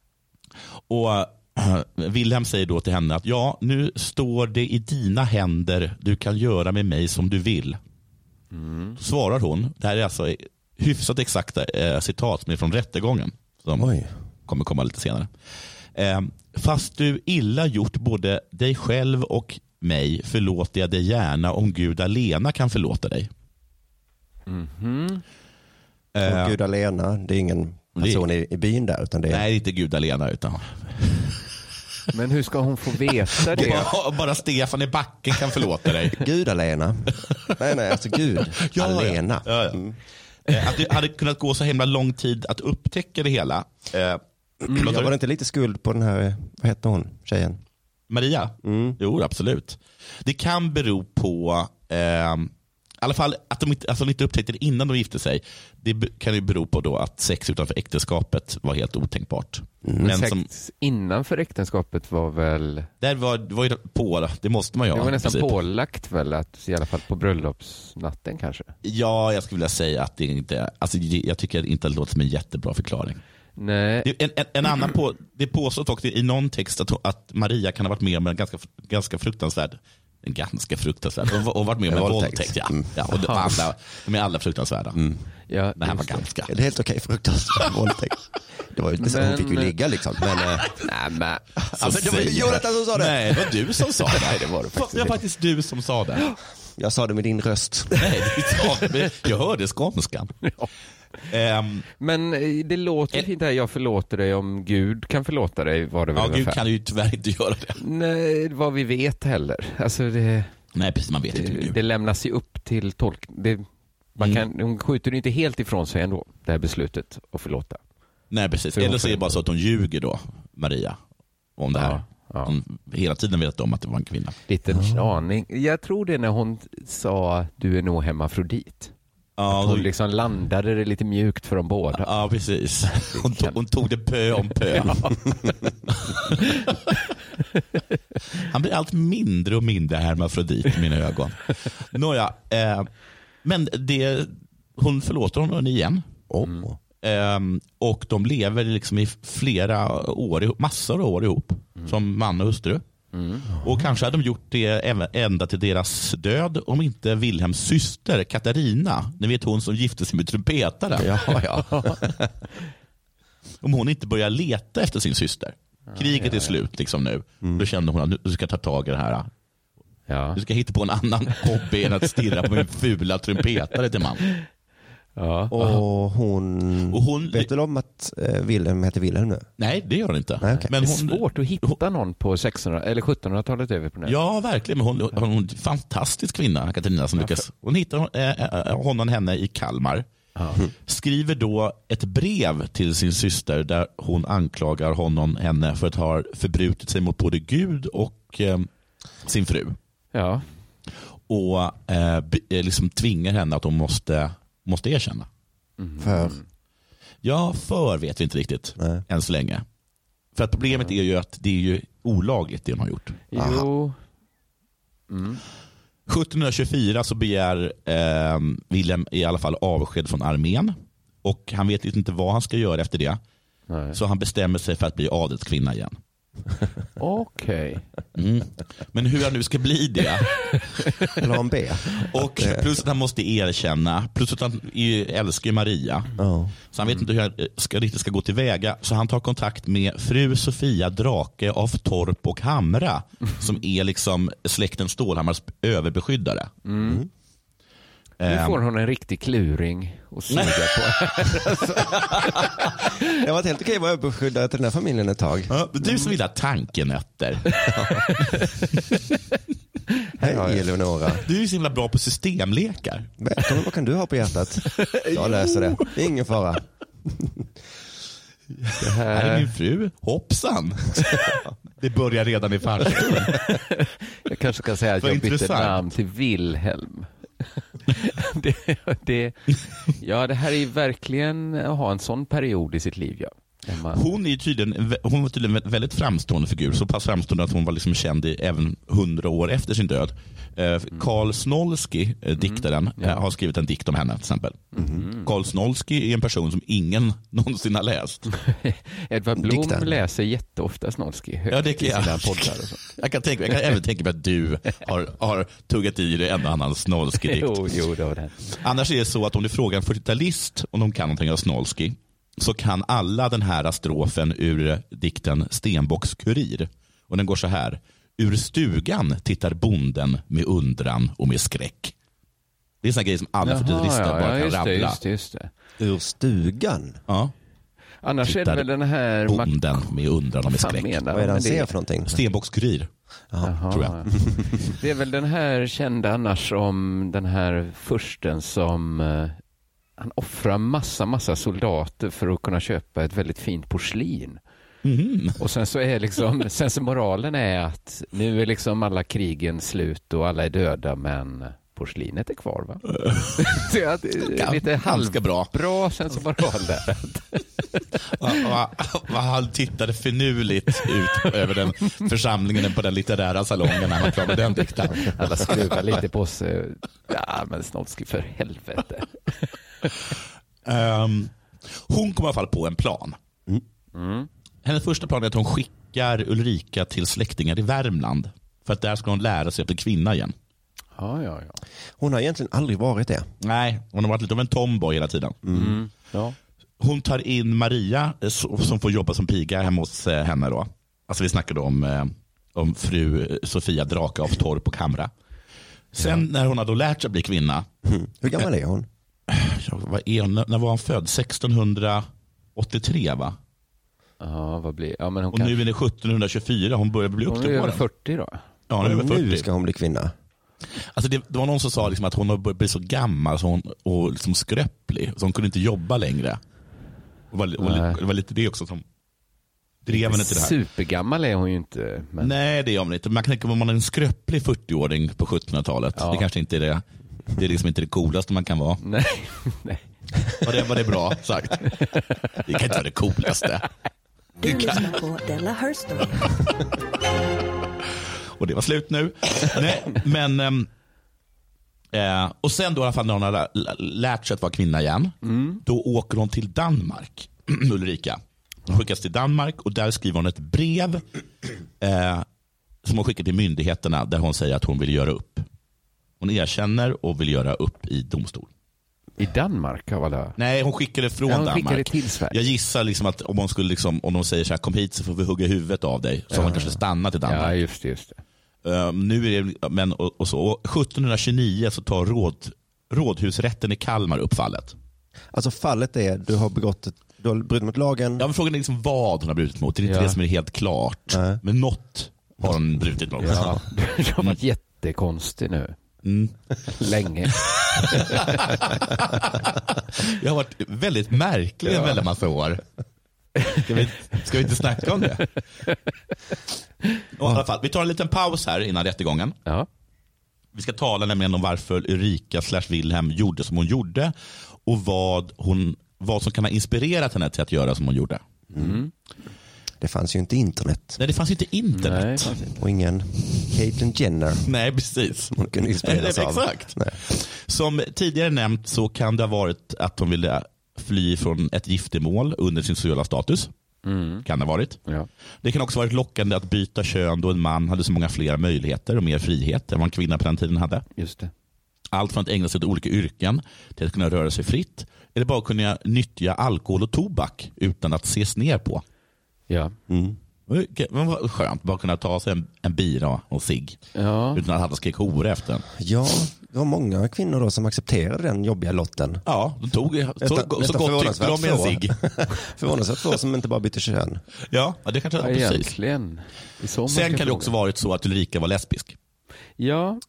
S2: Och eh, Wilhelm säger då till henne att ja, nu står det i dina händer. Du kan göra med mig som du vill. Då svarar hon. Det här är alltså hyfsat exakta eh, citat men från rättegången. Som
S1: Oj.
S2: kommer komma lite senare. Eh, fast du illa gjort både dig själv och mig förlåter jag dig gärna om Gud alena kan förlåta dig. Eh,
S1: Och Gud alena, det är ingen person i, i byn där utan det är...
S2: Nej, inte Gud alena utan
S3: Men hur ska hon få veta det?
S2: bara, bara Stefan i backen kan förlåta dig.
S1: Gud alena. nej, nej, alltså Gud
S2: Ja,
S1: alena.
S2: ja. Ja, ja.
S1: Mm.
S2: Eh, Att det hade kunnat gå så himla lång tid att upptäcka det hela. Eh, vad sa
S1: Mm, Jag
S2: du?
S1: var inte lite skuld på den här, vad hette hon, tjejen?
S2: Maria?
S1: Mm.
S2: Jo, absolut. Det kan bero på, eh, i alla fall att de inte, alltså, de inte upptäckte det innan de gifte sig. Det be- kan ju bero på då att sex utanför äktenskapet var helt otänkbart.
S1: Mm.
S2: Men
S3: Sex
S2: som,
S3: innanför äktenskapet var väl...
S2: där var, det var ju på, det måste man ju
S3: Det
S2: ha.
S3: var
S2: i
S3: nästan
S2: princip.
S3: pålagt väl, att, i alla fall på bröllopsnatten kanske?
S2: Ja, jag skulle vilja säga att det inte, alltså, det- jag tycker inte att det låter som en jättebra förklaring.
S3: Nej,
S2: Det, en, en, en annan på, det påstås också i någon text att, att Maria kan ha varit med om en ganska, ganska fruktansvärd en ganska fruktansvärd. Hon har varit med om en
S1: En
S2: våldtäkt.
S1: våldtäkt. Mm.
S2: ja. Ja, och de, alla, de är alla fruktansvärda.
S3: ja,
S2: Det här var
S3: just
S2: ganska.
S1: Det är helt okej fruktansvärd våldtäkt. Det var ju inte så, hon fick ju
S3: Men-
S1: ligga liksom. Men, eh,
S3: Nej, men.
S2: Så
S1: men det var ju
S2: säger-
S1: Jonathan som sa det.
S2: Nej, det var du som sa det. Nej, det var det faktiskt. Det var faktiskt du som sa det.
S1: jag sa det med din röst.
S2: Nej, du sa det. Jag hörde skånskan. Ehm,
S3: Men eh, det låter ju fint det här, jag förlåter dig om Gud kan förlåta dig, var det väl
S2: ja, Gud
S3: ungefär.
S2: kan ju tyvärr inte göra det.
S3: Nej, vad vi vet heller. Alltså det,
S2: Nej, precis. Man vet inte med
S3: det,
S2: Gud. Mm.
S3: det lämnas ju upp till tolk... Det, man kan, hon skjuter ju inte helt ifrån sig ändå, det här beslutet att förlåta.
S2: Nej, precis.
S3: För hon
S2: Eller så är det bara så att hon ljuger då, Maria, om det här.
S3: Ja, ja.
S2: Hon hela tiden vetat om att det var en kvinna.
S3: Liten aning. Jag tror det när hon sa du är nog hemmafrodit.
S2: Ja,
S3: Hon
S2: då-
S3: liksom landade det lite mjukt för dem båda.
S2: Ja, precis. Hon tog, hon tog det pö om pö. Han blir allt mindre och mindre hermafrodit i mina ögon. Nåja, eh, men det, hon förlåter honom igen. Mm.
S1: Oh.
S2: Ehm, och de lever liksom i flera år, ihop- massor av år ihop. Som man och hustru. Och kanske hade de gjort det även- ända till deras död om inte Wilhelms syster Katarina, ni vet hon som gifte sig med trumpetaren.
S1: Ja, ja.
S2: Om hon inte börjar leta efter sin syster. Kriget är slut liksom nu. Då kände hon att nu ska jag ta tag i det här.
S3: Ja.
S2: Nu ska jag hitta på en annan hobby än att stirra på min fula trumpetare till man.
S3: ja.
S1: Och hon...
S2: Och Mm. hon-
S1: Vet du om att eh, Wilhelm heter Wilhelm nu?
S2: Nej, det gör hon inte.
S1: Nej, okej.
S2: Men
S3: Det är
S2: hon,
S3: svårt att hitta någon på 1600 eller 1700-talet över på nätet.
S2: Ja, verkligen. Men hon, hon, hon är en fantastisk kvinna, Katarina, som lyckas. Hon hittar eh, eh, honom, henne, i Kalmar. Skriver då ett brev till sin syster där hon anklagar honom, henne, för att ha förbrutit sig mot både Gud och eh, sin fru.
S3: Ja.
S2: och eh, be- eh, liksom tvingar henne att hon måste, måste erkänna. Mm.
S3: Mm.
S1: För
S2: Ja, för vet vi inte riktigt
S1: Nej.
S2: än så länge. För att problemet är ju att det är ju olagligt det hon har gjort.
S3: Jo. Mm.
S2: 1724 så begär eh, Wilhelm i alla fall avsked från armén. Och han vet liksom inte vad han ska göra efter det.
S3: Nej.
S2: Så han bestämmer sig för att bli adelskvinna igen.
S3: Okej.
S2: Mm. Men hur han nu ska bli det.
S1: plan B.
S2: Och plus att han måste erkänna. Plus att han ju älskar ju Maria.
S1: Ja.
S2: Så han vet inte hur han eh, ska, riktigt ska gå tillväga. Så han tar kontakt med fru Sofia Drake av Torp och Hamra. Som är liksom släkten Stålhammars överbeskyddare.
S3: Nu
S2: Ehm,
S3: får hon en riktig kluring och suga på.
S1: Det har varit helt okej att vara överbeskyddare till den här familjen ett tag.
S2: ja, du som gillar tankenötter.
S1: Hej Eleonora.
S2: Du är ju så himla bra på systemlekar.
S1: Välkommen, vad kan du ha på hjärtat? Jag löser det. Det är ingen fara.
S2: Här är min fru. Hoppsan. Eh. Det börjar redan i farstun.
S3: Jag kanske ska säga att
S2: Vad
S3: jag bytte
S2: intressant.
S3: namn till Wilhelm. det, det, ja, det här är ju verkligen att ha en sån period i sitt liv. Ja. När man-
S2: Hon, är ju tydligen, hon var tydligen en väldigt framstående figur. Så pass framstående att hon var liksom känd i, även hundra år efter sin död. Eh, Karl Snolsky,
S3: Mm.
S2: eh, diktaren, eh, har skrivit en dikt om henne till exempel. Karl Snolsky är en person som ingen någonsin har läst.
S3: Edvard Blom
S1: Diktaren.
S3: läser jätteofta Snolsky.
S2: Ja, det kan
S3: I sina
S2: jag.
S3: poddar och så.
S2: Jag kan, tänka, jag kan även tänka mig att du har, har tuggat i dig en och annan Snolsky-dikt.
S3: Jo, jo, det var det.
S2: Annars är det så att om du frågar en 40-talist om de kan någonting av Snolsky så kan alla den här strofen ur dikten Stenbocks kurir. Och den går så här. Ur stugan tittar bonden med undran och med skräck. Det är en sån här grej som alla 40-talister bara kan
S3: just det,
S2: rabbla.
S3: just det, just det.
S1: Ur stugan?
S2: Ja.
S3: Annars är
S2: Tittar
S3: det väl den här... Mac-
S2: Bonden med undran och med
S3: Fan,
S2: skräck.
S3: menar
S1: Vad är det
S3: de
S1: han
S3: med
S1: ser för någonting?
S2: Stenbocks kurir.
S3: Jaha.
S2: tror jag.
S3: Det är väl den här kända annars om den här fursten som eh, han offrar massa, massa soldater för att kunna köpa ett väldigt fint porslin.
S1: Mhm.
S3: Och sen så är liksom, sen så moralen är att nu är liksom alla krigen slut och alla är döda men porslinet är kvar va? så jag, det är lite
S2: Ganska bra.
S3: halvbra sen så moral där.
S2: Och- och- och Han tittade finurligt ut över den församlingen på den litterära salongen när han var klar med den dikten.
S3: Alla skruvar lite på sig. Ja men Snodski för helvete.
S2: Ehm, hon kommer i alla fall på en plan.
S3: Mm.
S2: Hennes första plan är att hon skickar Ulrika till släktingar i Värmland. För att där ska hon lära sig att bli kvinna igen.
S3: Ja, ja, ja.
S1: Hon har egentligen aldrig varit det.
S2: Nej, hon har varit lite av en tomboy hela tiden.
S3: ja.
S2: Hon tar in Maria eh, so- som får jobba som piga hemma hos eh, henne. Då. Alltså vi snackade om, eh, om fru eh, Sofia Drake av Torp och Kamra. Sen när hon har då lärt sig att bli kvinna.
S1: Hur gammal är hon?
S2: ja, Vad är hon, när var hon född? 1683 va?
S3: Ja, vad blir... Ja, men hon
S2: Och
S3: kanske...
S2: nu är det 1724. Hon börjar bli upp
S3: Hon
S2: till
S3: är över
S2: åren.
S3: 40 då.
S2: Ja, hon är över
S1: Och
S2: 40.
S1: Mm. nu ska hon bli kvinna.
S2: Alltså det, det var någon som sa liksom att hon har börjat bli så gammal så hon, och liksom skröplig, så hon kunde inte jobba längre. Och var, och
S3: Nej.
S2: li- det var lite det också som drev henne till det här.
S3: Supergammal är hon ju inte. Men...
S2: Nej, det gör man inte. Man kan tänka om man är en skröplig 40-åring på 1700-talet.
S3: Ja.
S2: Det kanske inte är det. Det är liksom inte det coolaste man kan vara.
S3: Nej. Nej.
S2: Var det, var det bra sagt? Det kan inte vara det coolaste.
S4: Du lyssnar på Della Herstory.
S2: Och det var slut nu. Nej, men, ehm, eh, och sen då i alla fall när hon har lä- lä- lärt sig att vara kvinna igen. Då åker hon till Danmark, Ulrika. Hon skickas till Danmark och där skriver hon ett brev eh, som hon skickar till myndigheterna där hon säger att hon vill göra upp. Hon erkänner och vill göra upp i domstol.
S3: I Danmark av alla...
S2: Nej, hon skickade från
S3: Ja, hon
S2: Danmark.
S3: skickade till Sverige.
S2: Jag gissar liksom att om, hon skulle liksom, om de säger så här, kom hit så får vi hugga huvudet av dig. Så har hon kanske stannat i Danmark.
S3: Ja, just det. Just det.
S2: Eh, nu är det, men, och, och så. Och 1729 så tar råd, rådhusrätten i Kalmar upp fallet.
S1: Alltså fallet är, du har begått, ett, du har brutit mot lagen.
S2: Ja, men frågan är liksom vad hon har brutit mot. Det är inte
S3: Ja.
S2: det som är helt klart.
S1: Nej.
S2: Men något har hon brutit mot.
S3: Ja. Du har varit jättekonstig nu.
S2: Mm.
S3: Länge.
S2: Jag har varit väldigt märklig en väldigt massa år. Ska vi, ska vi inte snacka om det? Och, i alla fall, vi tar en liten paus här innan rättegången.
S3: Ja.
S2: Vi ska tala nämligen om varför Ulrika slash Wilhelm gjorde som hon gjorde och vad, hon, vad som kan ha inspirerat henne till att göra som hon gjorde.
S1: Det fanns ju inte internet
S2: Nej, det fanns ju inte
S3: Nej,
S2: internet.
S3: kanske inte.
S1: och ingen Caitlyn Jenner.
S2: Nej, precis.
S1: Hon kunde inspireras
S2: Nej,
S1: av.
S2: Exakt.
S1: Nej.
S2: Som tidigare nämnt så kan det ha varit att hon ville fly från ett giftermål under sin sociala status.
S3: Mm.
S2: Kan det ha varit.
S3: Ja.
S2: Det kan också ha varit lockande att byta kön då en man hade så många fler möjligheter och mer frihet än vad en kvinna på den tiden hade.
S3: Just det.
S2: Allt från att ägna sig åt olika yrken till att kunna röra sig fritt eller bara kunna nyttja alkohol och tobak utan att ses ner på.
S3: Ja.
S2: Mm. Okej, Men vad skönt, bara kunna ta sig en, en bira och cigg
S3: Ja.
S2: utan att alla skrek hora efter en.
S1: Ja, det var många kvinnor då som accepterade den jobbiga lotten.
S2: Ja, de tog, så,
S1: Nästan-
S2: så
S1: nästan
S2: gott tyckte de med en
S1: förvånansvärt
S2: cigg.
S1: Förvånansvärt få som inte bara bytte kön.
S2: Ja, ja, det kanske
S3: ja,
S2: ja, precis.
S3: egentligen. I så många
S2: Sen kan det också
S3: frågor.
S2: varit så att Ulrika var lesbisk.
S3: Ja,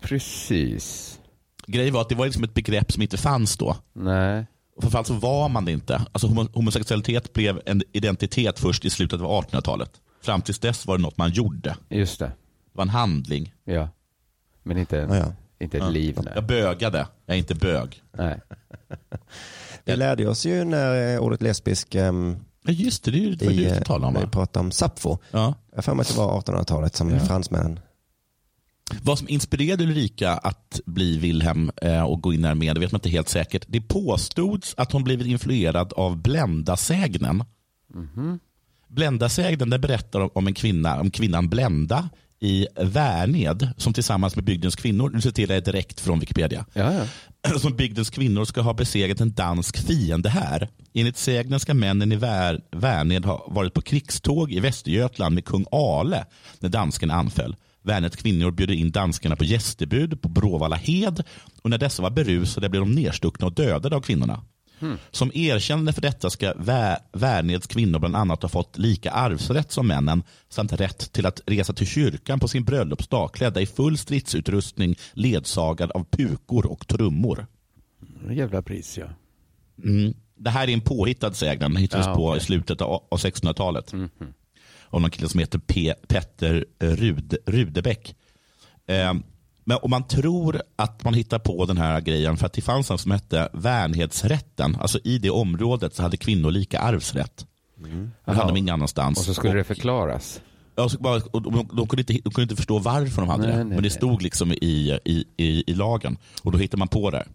S3: precis.
S2: Grejen var att det var liksom ett begrepp som inte fanns då.
S3: Nej.
S2: Och Framförallt så var man det inte. Alltså homo- homosexualitet blev en identitet först i slutet av 1800-talet. Fram tills dess var det något man gjorde.
S3: Just det.
S2: Det var en handling.
S3: Ja. Men inte en
S1: Ja, ja.
S3: Inte ett liv, nej.
S2: Jag bögade. Jag är inte bög.
S3: nej.
S1: Vi lärde oss ju när eh, ordet lesbisk ehm,
S2: Ja, just det. Det är ju det var
S1: i,
S2: du
S1: eh,
S2: som talade om,
S1: när vi
S2: va?
S1: pratade om Sappho.
S2: Ja.
S1: Jag har för mig att det var 1800-talet som fransmännen.
S2: Vad som inspirerade Ulrika att bli Wilhelm eh, och gå in i armén, det vet man inte helt säkert. Det påstods att hon blivit influerad av Blenda-sägnen. Blenda-sägnen där berättar om- om en kvinna, om kvinnan Blenda i Värned som tillsammans med bygdens kvinnor, nu citerar jag direkt från Wikipedia,
S3: Ja, ja.
S2: som bygdens kvinnor ska ha besegrat en dansk fiende här. Enligt sägnen ska männen i Vär, Värned ha varit på krigståg i Västergötland med kung Ale när danskarna anföll. Värneds kvinnor bjöd in danskarna på gästebud på Bråvalla hed och när dessa var berusade blev de nerstuckna och dödade av kvinnorna. Som erkännande för detta ska Vä- Värneds kvinnor bland annat ha fått lika arvsrätt som männen samt rätt till att resa till kyrkan på sin bröllopsdag klädda i full stridsutrustning ledsagad av pukor och trummor.
S3: Jävla pris, ja.
S2: Mm. Det här är en påhittad sägnen. Den hittades
S3: Ja,
S2: på
S3: okej. Mhm.
S2: i slutet av av 1600-talet. Av någon kille som heter P- Petter eh, Rud- Rudebäck. Eh, men om man tror att man hittar på den här grejen för att det fanns något som hette värnhetsrätten. Alltså i det området så hade kvinnor lika arvsrätt. Det hade
S3: Jaha.
S2: de ingen annanstans.
S3: Mm. Och så skulle
S2: Och-
S3: det förklaras.
S2: Ja, så bara, och de, de, kunde inte, de kunde inte förstå varför de hade
S3: Nej,
S2: det.
S3: nej,
S2: men det
S3: nej.
S2: stod liksom i, i, i, i lagen. Och då hittar man på det.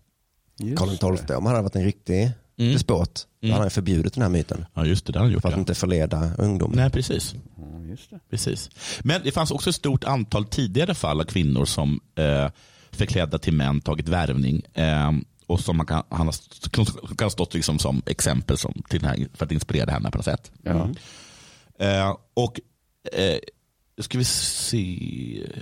S1: Karl XII, om han hade varit en riktig
S2: Mm.
S1: despot, då hade han förbjudit den här myten.
S2: Ja, just det. Det hade de gjort.
S1: För att
S2: ja.
S1: inte förleda ungdomen.
S2: Nej, precis.
S3: Ja, just det.
S2: Precis. Men det fanns också ett stort antal tidigare fall av kvinnor som eh, förklädda till män tagit värvning. Eh, och som man kan, han har st- kan ha stått liksom som exempel som, till den här, för att inspirera henne på något sätt.
S3: Ja.
S2: Eh, och eh, ska vi se,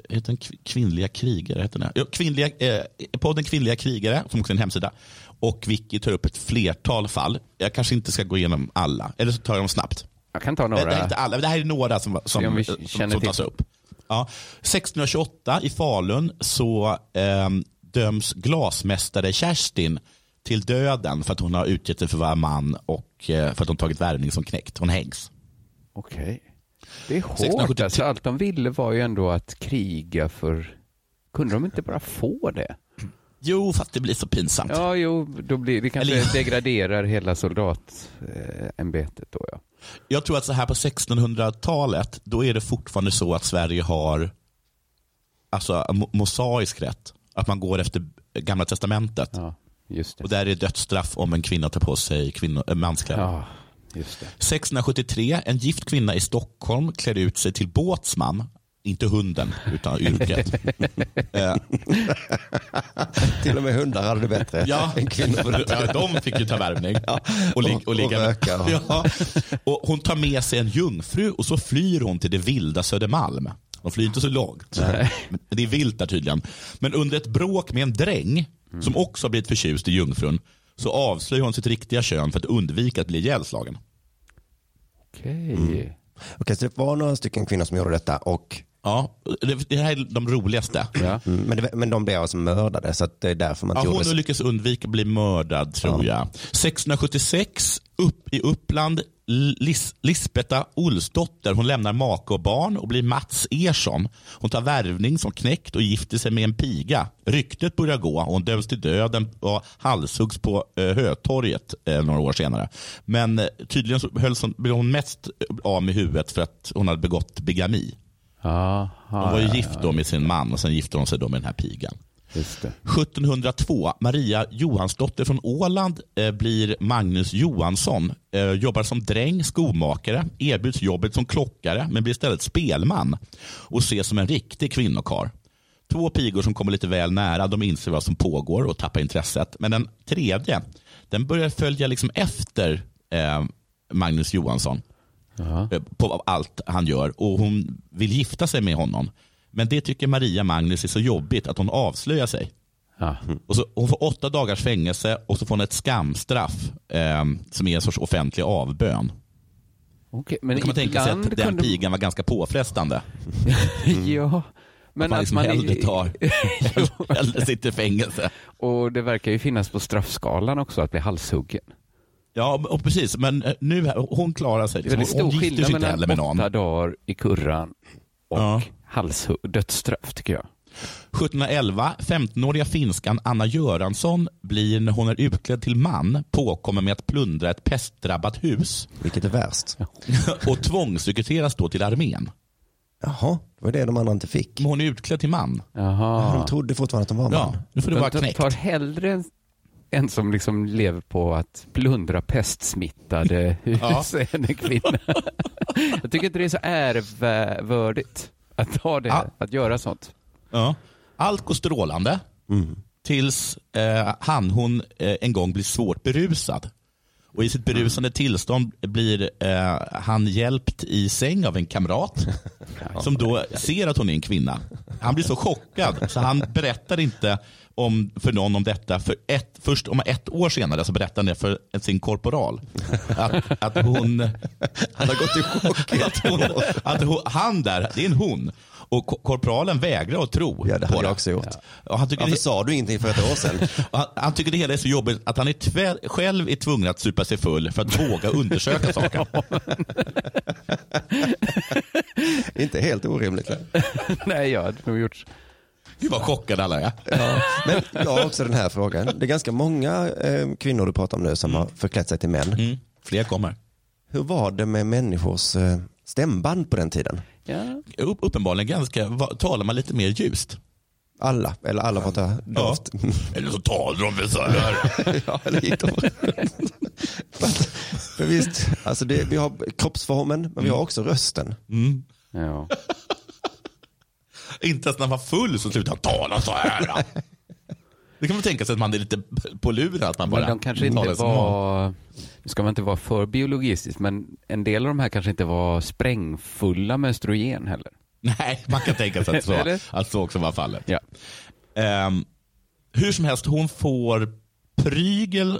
S2: heter den Kv- Kvinnliga krigare? Heter den här? Ja, kvinnliga, eh, podden Kvinnliga krigare, som också är en hemsida. Och Vicky tar upp ett flertal fall. Jag kanske inte ska gå igenom alla, eller så tar jag dem snabbt.
S3: Jag kan ta
S2: Det, det, här är
S3: några.
S2: inte alla, men det här är några som,
S3: Se om
S2: som,
S3: vi
S2: som,
S3: känner
S2: som
S3: till.
S2: tas upp. Ja. 1628 i Falun så ehm, döms glasmästare Kerstin till döden för att hon har utgett sig för att vara man och eh, för att hon tagit värvning som knäckt. Hon hängs.
S3: Okej. Det är hårt
S2: 673.
S3: alltså. Allt de ville var ju ändå att kriga för... Kunde de inte bara få det?
S2: Jo, fast det blir så pinsamt.
S3: Ja, jo, då blir det kanske
S2: Eller-
S3: degraderar hela soldatämbetet då ja.
S2: Jag tror att så här på 1600-talet, då är det fortfarande så att Sverige har alltså, mo- mosaisk rätt. Att man går efter gamla testamentet.
S3: Ja, just
S2: Och
S3: det.
S2: där är dödsstraff om en kvinna tar på sig kvinno, äh, manskläder.
S3: Ja, just det.
S2: 1673, en gift kvinna i Stockholm klär ut sig till båtsman. Inte hunden, utan yrket. Eh,
S1: Till och med hundar hade det bättre
S2: ja,
S1: än kvinnor på den
S2: ja, de fick ju ta värvning. Och, lig-
S1: och röka och-
S2: Ja. och hon tar med sig en jungfru och så flyr hon till det vilda Södermalm. De flyr inte så långt. Men det är vilt där tydligen. Men under ett bråk med en dräng som också har blivit förtjust i jungfrun så avslöjar hon sitt riktiga kön för att undvika att bli ihjälslagen.
S3: Okej.
S1: Okej, så det var några stycken kvinnor som gjorde detta. Och, mm,
S2: Ja, det- det här är de roligaste.
S3: Ja.
S1: men, det, men de blev alltså mördade, så att det är därför man
S2: Ja,
S1: inte
S2: hon
S1: gjorde
S2: har
S1: så.
S2: lyckats undvika att bli mördad tror jag. 1676 upp i Uppland, Lis- Lisbetta Olsdotter, hon lämnar make och barn och blir Mats Ersson. Hon tar värvning som knäckt och gifter sig med en piga. Ryktet börjar gå och hon döms till döden och halshuggs på eh, Hötorget eh, några år senare. Men eh, tydligen så hölls hon, blev hon mest eh, av med huvudet för att hon hade begått bigami.
S3: Aha,
S2: Hon var ju gift då med sin man och sen gifte hon sig då med den här pigan.
S3: just det.
S2: 1702, Maria Johansdotter från Åland eh, blir Magnus Johansson. Eh, jobbar som dräng, skomakare, erbjuds jobbet som klockare men blir istället spelman och ses som en riktig kvinnokar. Två pigor som kommer lite väl nära, de inser vad som pågår och tappar intresset. Men den tredje, den börjar följa liksom efter eh, Magnus Johansson
S3: Jaha.
S2: eh, på allt han gör och hon vill gifta sig med honom. Men det tycker Maria Magnus är så jobbigt att hon avslöjar sig.
S3: Ja.
S2: Och så, hon får åtta dagars fängelse och så får hon ett skamstraff eh, som är en sorts offentlig avbön.
S3: Okej,
S2: Men
S3: men
S2: kan man tänka sig
S3: ibland
S2: att den
S3: kunde-
S2: pigan var ganska påfrestande.
S3: ja.
S2: Men
S3: Men
S2: man
S3: Mm. att
S2: liksom
S3: man...
S2: hellre tar, hellre sitter i fängelse.
S3: Och det verkar ju finnas på straffskalan också att bli halshuggen.
S2: Ja, och precis. Men eh, nu, hon klarar sig. Liksom.
S3: Väldigt
S2: Hon
S3: stor
S2: gifter sig
S3: skillnad
S2: inte heller
S3: mellan
S2: med någon.
S3: åtta dagar i kurran och
S2: Ja.
S3: halshugg, dödsstraff tycker jag.
S2: 1711, 15-åriga finskan Anna Göransson blir när hon är utklädd till man påkommen med att plundra ett pestdrabbat hus
S1: Vilket är värst?
S2: och tvångsrekryteras då till armén.
S1: Jaha, det var det de andra inte fick.
S2: Men hon är utklädd till man.
S1: De
S3: Jaha.
S1: trodde fortfarande att de var man.
S2: Ja, nu får du vara
S3: De
S2: knäckt.
S3: tar hellre en, en som liksom lever på att plundra pestsmittade hus än en kvinna. Jag tycker inte det är så ärevördigt att ha det,
S2: Ja.
S3: att göra sånt.
S2: Ja. Allt går strålande tills eh, han hon eh, en gång blir svårt berusad. Och I
S1: Mm.
S2: sitt berusande tillstånd blir eh, han hjälpt i säng av en kamrat som då ser att hon är en kvinna. Han blir så chockad så han berättar inte om, för någon om detta. För ett, först om ett år senare så berättar han det för sin korporal. Att, att hon
S1: Han har gått i chock.
S2: att, hon, att hon, han där, det är en hon. Och ko- korpralen vägrar att tro
S1: Ja, det
S2: på
S1: hade jag också gjort.
S2: Och han, tycker
S1: Varför
S2: det,
S1: sa du ingenting för ett år sedan?
S2: och han, han tycker det hela är så jobbigt att han är tvä- själv är tvungen att supa sig full för att våga undersöka saker.
S1: inte helt orimligt.
S3: Nej, jag hade nog gjort
S2: Gud vad chockad alla är.
S1: Men jag har också den här frågan. Det är ganska många eh, kvinnor du pratar om nu som har förklätt sig till män.
S2: Mm, fler kommer.
S1: Hur var det med människors eh, stämband på den tiden?
S3: Ja.
S2: Upp, uppenbarligen ganska, va, talar man lite mer ljust.
S1: Alla, eller alla var det
S2: Ja.
S1: dovt.
S2: Eller så talar de väl så här.
S1: Ja, eller gick de runt? Fast- För visst, alltså det, vi har kroppsformen, men vi har också rösten.
S3: Ja.
S2: Inte ens när man var full så slutade han tala så här. Det kan man tänka sig att man är lite på luren. Att man bara
S3: Men de kanske inte
S2: talar som man.
S3: var, nu ska man inte vara för biologistisk, men en del av de här kanske inte var sprängfulla med östrogen heller.
S2: Nej, man kan tänka sig att så,
S3: Eller?
S2: att så också var fallet.
S3: Ja.
S2: Ehm, hur som helst, hon får prygel,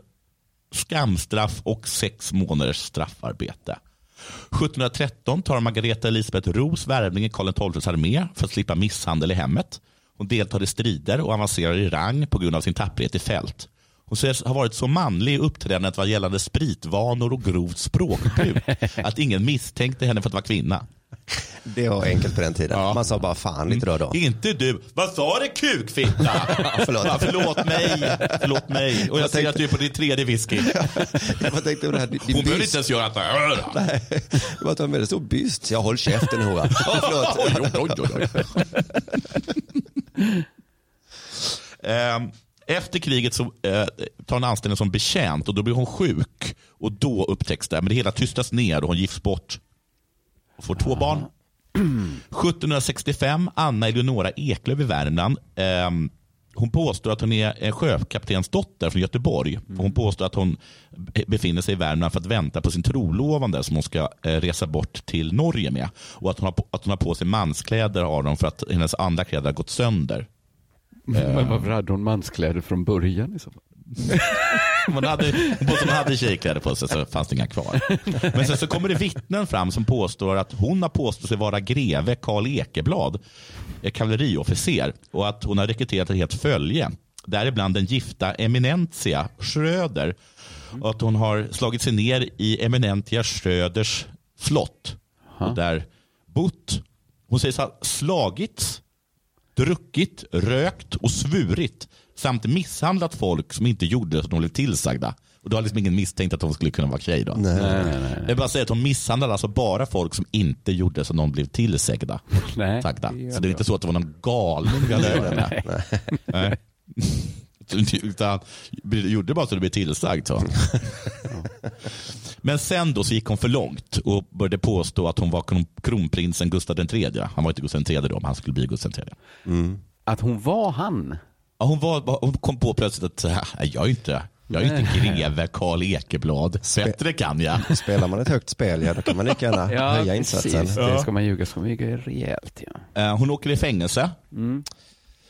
S2: skamstraff och sex månaders straffarbete. 1713 tar Margareta Elisabeth Ros värvning i Karl XIIs armé för att slippa misshandel i hemmet. Hon deltar i strider och avancerar i rang på grund av sin tapperhet i fält. Hon sägs ha varit så manlig i uppträdandet vad gällande spritvanor och grovt språkbruk att ingen misstänkte henne för att vara kvinna.
S1: Det var enkelt på den tiden.
S2: Ja.
S1: Man sa bara fan inte då då.
S2: Inte du. Vad sa du kukfitta?
S1: förlåt.
S2: Ja, förlåt mig. Förlåt mig. Och jag,
S1: Jag
S2: ser
S1: tänkte-
S2: att du är på din tredje whisky.
S1: Jag tänkte på det här, din
S2: Mm. Hon behöver
S1: byst.
S2: inte ens göra så här.
S1: Nej, det var att du har en väldigt stor byst. Jag håll käften hora. Förlåt.
S2: Oj, oj, oj, oj. Ehm, Efter kriget så eh, tar hon anställning som betjänt och då blir hon sjuk. Och då upptäcks det. Men det hela tystas ner och hon gifts bort. Och får två barn. 1765, Anna Eleonora Eklöf i Värmland. Ehm, hon påstår att hon är en sjökaptensdotter från Göteborg. Hon påstår att hon befinner sig i Värmland för att vänta på sin trolovande som hon ska eh, resa bort till Norge med. Och att hon har på, att hon har på sig manskläder har hon för att hennes andra kläder har gått sönder.
S3: Men varför hade hon manskläder från början i så fall?
S2: Hon hade, hon påstår att hon hade tjejkläder på sig så fanns det inga kvar. Men sen så kommer det vittnen fram som påstår att hon har påstått sig vara greve Karl Ekeblad, eh, kavalleriofficer och att hon har rekryterat ett helt följe. Däribland den gifta Eminentia Schröder och att hon har slagit sig ner i Eminentia Schröders slott och där bott. Hon sägs ha slagits druckit, rökt och svurit samt misshandlat folk som inte gjorde som de blev tillsagda. Och då har liksom ingen misstänkt att hon skulle kunna vara tjej då. Jag vill bara säga att hon misshandlade alltså bara folk som inte gjorde som de blev tillsagda.
S3: Nej.
S2: Sagda.
S3: det gör
S2: Så det
S3: det.
S2: är inte så att det var någon galning vi hade ögonen med. Nej. Utan gjorde bara så det blev tillsagt. Så. Men sen då så gick hon för långt och började påstå att hon var kron- kronprinsen Gustav III. Han var inte Gustav III då, men han skulle bli Gustav III.
S3: Att hon var han?
S2: Ja, hon, var, hon kom på plötsligt att så här, "Nej, jag är inte, jag är inte greve Karl Ekeblad. Bättre kan jag.
S1: Spelar man ett högt spel, ja då kan man lika gärna höja insatsen.
S3: precis. Det ska man ljuga, ska man ljuga rejält. Ja.
S2: Eh, Hon åker i fängelse.
S3: Mm.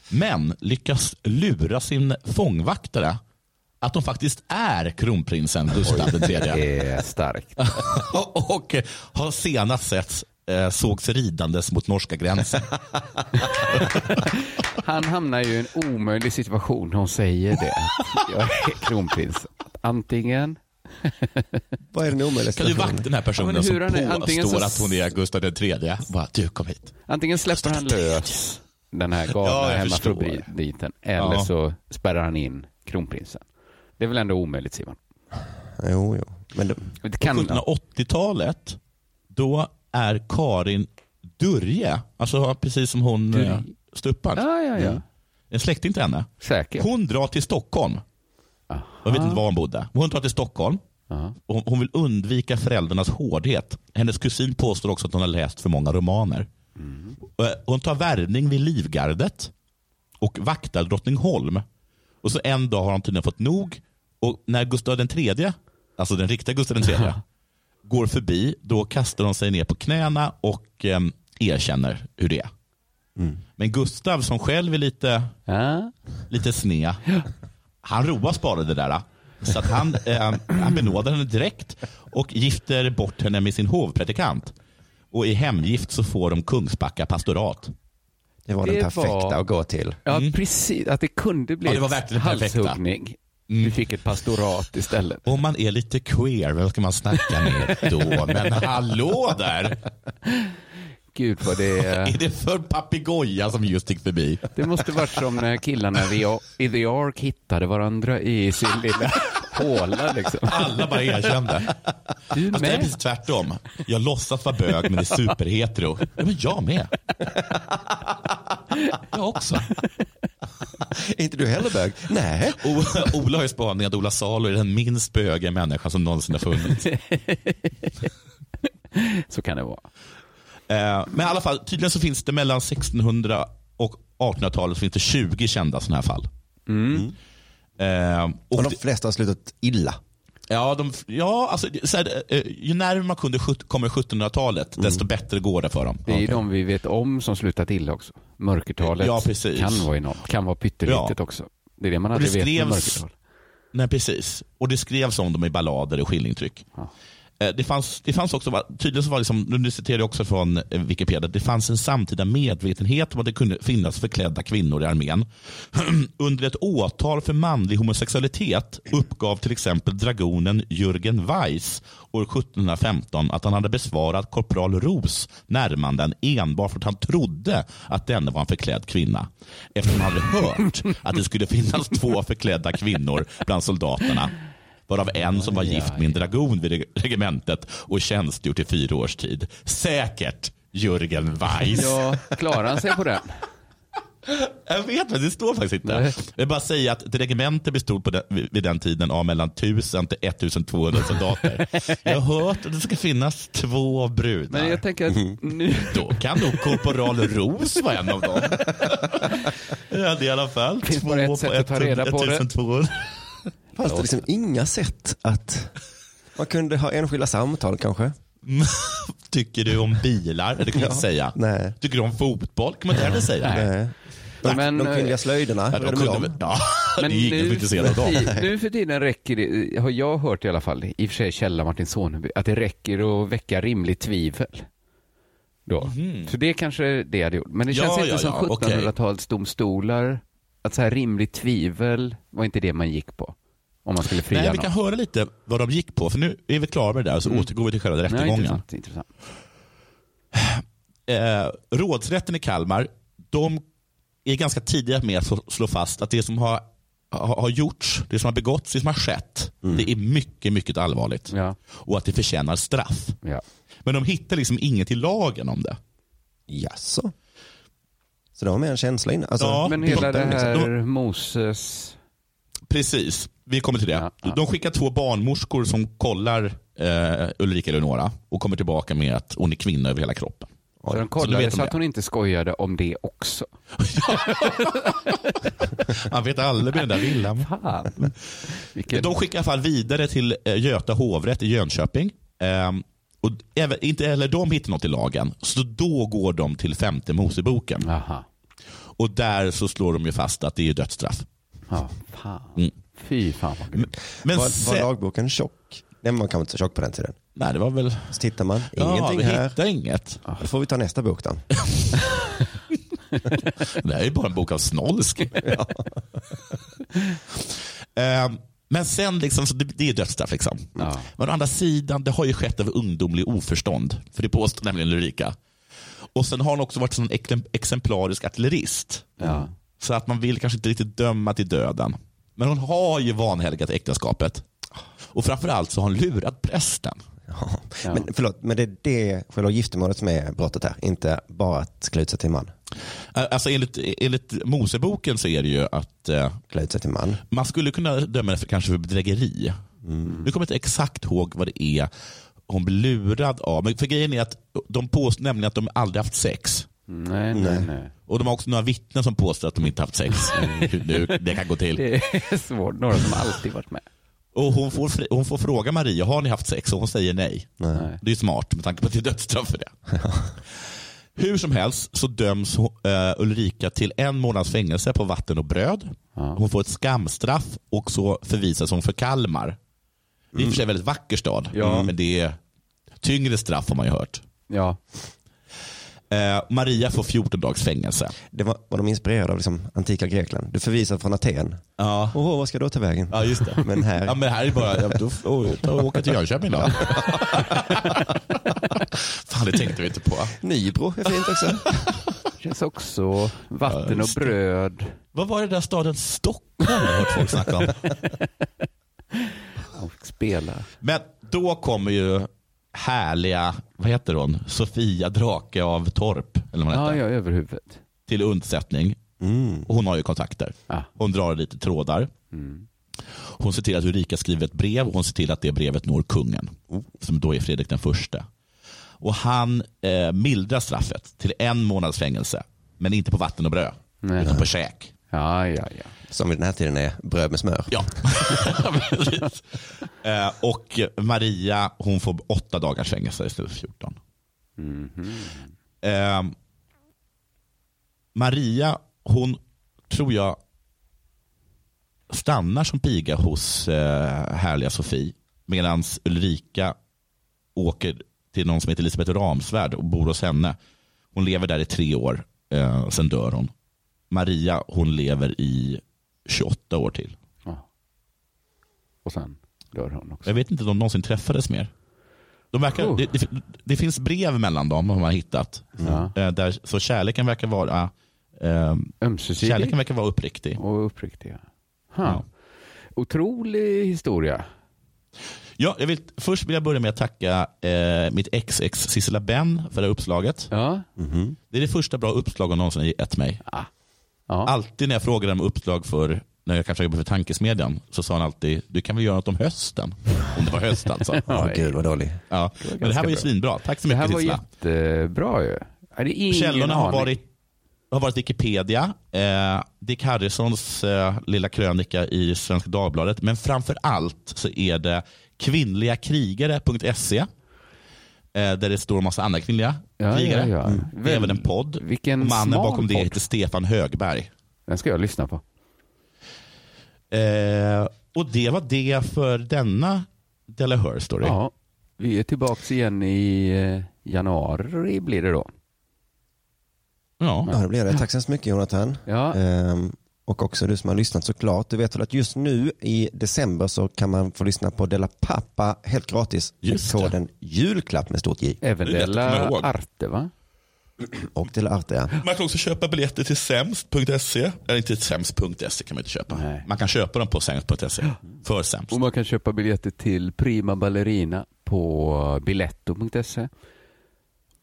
S2: Men lyckas lura sin fångvaktare att hon faktiskt är kronprinsen Gustav III.
S3: Det är starkt.
S2: och har senast setts eh, sågs ridandes mot norska gränsen.
S3: Han hamnar ju i en omöjlig situation när hon säger det. Jag är kronprins. Antingen,
S1: Vad är den omöjliga
S2: Kan du
S1: situationen?
S2: vakta den här personen
S3: Ja, men hur han är-
S2: som
S3: antingen
S2: påstår
S3: så-
S2: att hon är Gustav III? Bara, du kom hit.
S3: antingen släpper han lös den här
S2: Ja,
S3: galna
S2: jag
S3: hemmafrubriten. Eller
S2: Ja.
S3: så spärrar han in kronprinsen. Det är väl ändå omöjligt Simon?
S1: Jo, jo. Men det,
S3: Det
S2: På
S3: kan,
S2: 1780-talet, då är Karin Durje, alltså precis som hon eh, Struppan.
S3: Ja, ja, ja.
S2: Mm. En släkting till henne.
S3: säkert.
S2: Hon drar till Stockholm.
S3: Aha.
S2: Jag vet inte var hon bodde. Men Hon drar till Stockholm.
S3: Ja.
S2: Och hon vill undvika föräldrarnas hårdhet. Hennes kusin påstår också att hon har läst för många romaner. Eh, Hon tar värvning vid Livgardet och vaktar Drottningholm. Och så en dag har hon tydligen fått nog. Och när Gustav den tredje, alltså den riktiga Gustav den tredje, går förbi, då kastar hon sig ner på knäna och eh, erkänner hur det är. Men Gustav som själv är lite
S3: Ja.
S2: lite sned. Han roas bara det där. Så att han, eh, han benådar henne direkt och gifter bort henne med sin hovpredikant. Och i hemgift så får de Kungsbacka pastorat.
S1: det var
S3: Det
S1: den perfekta
S3: var-
S1: att gå till.
S3: Ja, precis. Att det kunde bli
S2: Mm. Ja, det var
S3: ett
S2: verkligen perfekta. Mm.
S3: halshuggning. Du fick ett pastorat istället.
S2: Om man är lite queer, vem ska man snacka med då? Men hallå där!
S3: Gud vad det
S2: Är
S3: är.
S2: det för papegoja som just gick förbi?
S3: Det måste varit som när killarna i- i The Ark hittade varandra i sin lilla håla liksom.
S2: Alla bara erkände.
S3: Du
S2: Fast det är
S3: med?
S2: precis tvärtom. Jag låtsas vara bög men är superhetero. Ja, men jag med. Jag också.
S1: Är inte du heller bög? Nej.
S2: O- Ola har ju spaningen att Ola Salo är den minst böga människan som någonsin har funnits.
S3: Så kan det vara.
S2: Eh, Men i alla fall, tydligen så finns det mellan 1600 och 1800-talet så finns det 20 kända sådana här fall.
S3: Mm.
S2: Eh,
S1: Och
S2: och
S1: de flesta har slutat illa.
S2: det- ja, de, ja, alltså, så här, eh, ju närmare man kunde sjut- kommer 1700-talet, desto bättre går det för dem.
S3: Mm. Det är ju de vi vet om som slutat illa också. Mörkertalet
S2: Ja, precis.
S3: kan vara enormt. Kan vara pyttelitet
S2: Ja.
S3: också. Det är det man
S2: Och det
S3: aldrig vet med
S2: skrevs-
S3: mörkertal.
S2: Nej, precis. Och det skrevs om dem i ballader och skillingtryck.
S3: Ja.
S2: Eh, Det fanns, det fanns också, va- tydligen så var liksom, nu citerar jag också från eh, Wikipedia, det fanns en samtida medvetenhet om att det kunde finnas förklädda kvinnor i armén. Under ett åtal för manlig homosexualitet uppgav till exempel dragonen Jürgen Weiss år 1715 att han hade besvarat korpral Ros närmanden enbart för att han trodde att denne var en förklädd kvinna. Eftersom han hade hört att det skulle finnas två förklädda kvinnor bland soldaterna. Varav en som var gift med en dragon vid reg- regementet och tjänstgjort i fyra års tid. Säkert Jürgen Weiss.
S3: Ja, klarar han sig på den?
S2: Jag vet men det står faktiskt inte.
S3: Nej.
S2: Jag vill bara säga att ett regemente bestod på den, vid den tiden av mellan 1000 till 1200 soldater. Jag har hört att det ska finnas två brudar.
S3: Men jag tänker
S2: Mm.
S3: att nu...
S2: Då kan nog korporal Ros vara en av dem. Jag hade i alla fall
S3: Finns bara ett sätt att ta reda på det.
S2: 1200.
S1: Fanns det liksom inga sätt att... Man kunde ha enskilda samtal kanske.
S2: Tycker du om bilar? Det kan man inte säga.
S1: Nej.
S2: Tycker du om fotboll? kan man inte heller säga.
S3: Nej.
S1: Nej. De,
S3: Men,
S1: de
S3: eh,
S1: kvinnliga slöjderna,
S2: Ja,
S1: hur är det
S2: de
S1: med
S2: kunde,
S1: dem?
S2: väl- ja,
S3: Men
S2: det är ingen som är intresserad av
S3: för
S2: dem.
S3: ti- nu för tiden räcker det, har jag hört i alla fall, i och för sig Källa Martin Soneby, att det räcker att väcka rimligt tvivel. Då. Så det kanske det hade gjort. Men det
S2: Mhm. Ja,
S3: känns inte
S2: ja,
S3: som
S2: ja, okej.
S3: 1700-talsdomstolar, att så här rimligt tvivel var inte det man gick på. Om man skulle fria
S2: Nej, vi
S3: någon.
S2: kan höra lite vad de gick på, för nu är vi klara med det där så återgår vi till själva
S3: Nej,
S2: rättegången.
S3: intressant, intressant.
S2: Eh, rådsrätten i Kalmar, de är ganska tidiga med att få- slå fast att det som har, har, har gjorts, det som har begåtts, det som har skett, det är mycket, mycket allvarligt.
S3: Ja.
S2: Och att det förtjänar straff.
S3: Ja.
S2: Men de hittar liksom inget i lagen om det.
S1: Jaså? Så de har med en känsla in? Alltså,
S2: Ja,
S3: Men
S2: det
S3: hela det
S2: låter liksom-
S3: här Moses,
S2: Precis, vi kommer till det.
S3: Ja, ja.
S2: De skickar två barnmorskor som kollar eh, Ulrika Eleonora och kommer tillbaka med att hon är kvinna över hela kroppen.
S3: så de
S2: Så då
S3: kollade
S2: vet
S3: så,
S2: de
S3: att
S2: det.
S3: hon inte skojade om det också.
S2: Han vet aldrig med den där villan.
S3: Fan. Vilken...
S2: De skickar i alla fall vidare till eh, Göta hovrätt i Jönköping. Ehm, och även, inte heller de hittar något i lagen. Så då går de till femte Moseboken.
S3: Aha.
S2: Och där så slår de ju fast att det är dödsstraff.
S3: Ja,
S2: Mm.
S3: fan. Fy fan vad grymt.
S2: Men
S1: var, var
S2: sen-
S1: lagboken tjock? Nej, man kan inte så tjock på den tiden.
S2: Nej, det var väl...
S1: Så tittar man,
S2: ja,
S1: ingenting
S2: vi
S1: här.
S2: hittar inget.
S1: Då får vi ta nästa bok då.
S2: Det här är ju bara en bok av snolsk. Ehm, men sen liksom, så det, det är dödsstraff. Liksom.
S3: Ja.
S2: Men å andra sidan, det har ju skett av ungdomlig oförstånd. För det påstår nämligen Ulrika. Och sen har hon också varit en sån ex- exemplarisk artillerist.
S5: Ja.
S2: Så att man vill kanske inte riktigt döma till döden. Men hon har ju vanhelgat äktenskapet. Och framförallt så har hon lurat prästen.
S1: Ja.
S5: Ja.
S1: Men förlåt, men det är det själva giftermålet som är brottet här. Inte bara att klä ut sig till man.
S2: Eh, Alltså enligt, enligt Moseboken så är det ju att eh,
S1: Klä ut sig till man.
S2: man skulle kunna döma för, kanske för bedrägeri. Nu kommer jag inte exakt ihåg vad det är hon blir lurad av. Men för grejen är att de påstår nämligen att de aldrig haft sex.
S5: Nej, nej, nej.
S2: Och de har också några vittnen som påstår att de inte haft sex. Mm, nu, det kan gå till.
S3: Det är svårt. Några som alltid varit med.
S2: Och hon, får, fr- hon får fråga Maria, har ni haft sex? Och hon säger nej.
S5: Nej.
S2: Det är ju smart med tanke på att det är dödsstraff för det. Hur som helst så döms hon- eh, Ulrika till en månads fängelse på vatten och bröd. Hon får ett skamstraff och så förvisas hon för Kalmar. Det är i och för sig en väldigt vacker stad, Mm.
S3: Ja.
S2: men det är tyngre straff har man ju hört.
S3: Ja.
S2: Eh, Maria får 14 dags fängelse.
S1: Det var, var de inspirerade av liksom, antika Grekland. Du förvisar från Aten.
S2: Ja,
S1: Åh, vad ska jag då ta vägen?
S2: ja just det.
S1: Men här,
S2: Ja, men här är bara, ja, då får jag åka till Jönköping då. Fan, det tänkte vi inte på.
S1: Nybro är fint också.
S3: Känns också vatten och bröd.
S2: Vad var det där staden Stockholm jag har hört folk snacka om?
S3: Och spela.
S2: Men då kommer ju härliga, vad heter hon, Sofia Drake av Torp, eller vad hon
S3: Ja,
S2: heter,
S3: ja, över huvudet.
S2: till undsättning.
S1: Mm,
S2: Och hon har ju kontakter.
S3: Ja.
S2: Hon drar lite trådar. Hon ser till att Ulrika skriver ett brev och hon ser till att det brevet når kungen, som då är Fredrik den förste. Och han eh, mildrar straffet till en månads fängelse, men inte på vatten och bröd,
S3: Nej.
S2: utan på käk.
S3: Ja, ja, ja.
S1: Som vid den här tiden är bröd med smör.
S2: Ja, precis. Eh, och Maria hon får åtta dagars fängelse istället för 14. Eh, Maria, hon tror jag stannar som piga hos eh, härliga Sofie. Medan Ulrika åker till någon som heter Elisabeth Ramsvärd och bor hos henne. Hon lever där i tre år, eh, sen dör hon. Maria, hon lever i 28 år till.
S3: ja. Och sen dör hon också.
S2: Jag vet inte om de någonsin träffades mer. De verkar,
S3: Oh. Mm.
S2: det, det, det finns brev mellan dem har man hittat.
S3: Ja.
S2: Eh, där, så kärleken verkar vara eh,
S3: Ömsesidig
S2: Kärleken verkar vara uppriktig.
S3: och uppriktig. ja.
S2: Ja.
S3: Ha. Otrolig historia.
S2: Ja, jag vill, först vill jag börja med att tacka eh, mitt ex ex Sissela Benn för det här uppslaget.
S3: Ja.
S2: Mm. Det är det första bra uppslag hon någonsin gett mig.
S3: Ah. ja.
S2: Alltid när jag frågade om uppslag för när jag kanske jobbade för tankesmedjan så sa han alltid du kan väl göra något om hösten. Om det var höst alltså.
S1: Åh, gud vad dålig.
S2: Ja. Men det här var ju
S3: bra.
S2: svinbra. Tack så
S3: Det här
S2: mycket
S3: var
S2: Sissela.
S3: jättebra ju. Ja, det är ingen
S2: Källorna har
S3: aning.
S2: varit, har varit Wikipedia, eh, Dick Harrisons eh, lilla krönika i Svenska Dagbladet, men framför allt så är det kvinnligakrigare.se eh, där det står en massa andra kvinnliga
S3: Ja,
S2: krigare. Mm.
S3: ja, ja.
S2: Det är
S3: Väl-
S2: även en podd.
S3: vilken
S2: Och Mannen
S3: smal
S2: bakom det
S3: podd.
S2: heter Stefan Högberg.
S3: Den ska jag lyssna på.
S2: Eh, och det var det för denna Delahör Story.
S3: Ja. Vi är tillbaka igen i eh, januari blir det då.
S2: Ja.
S1: Ja, det blir det. Tack så hemskt mycket Jonathan.
S3: Ja.
S1: Ehm, och också du som har lyssnat såklart. Du vet väl att just nu i december så kan man få lyssna på Della Pappa helt gratis
S2: Just det.
S1: med koden julklapp med stort J.
S3: Även
S2: Det är lätt att komma
S3: Della
S2: ihåg.
S3: Arte va?
S1: Och Della Artea.
S2: Man kan också köpa biljetter till sämst.se. Eller inte sämst.se kan man inte köpa.
S3: Nej. Mm.
S2: Man kan köpa dem på sämst.se. För sämst.
S3: Och man kan köpa biljetter till Prima Ballerina på biletto.se.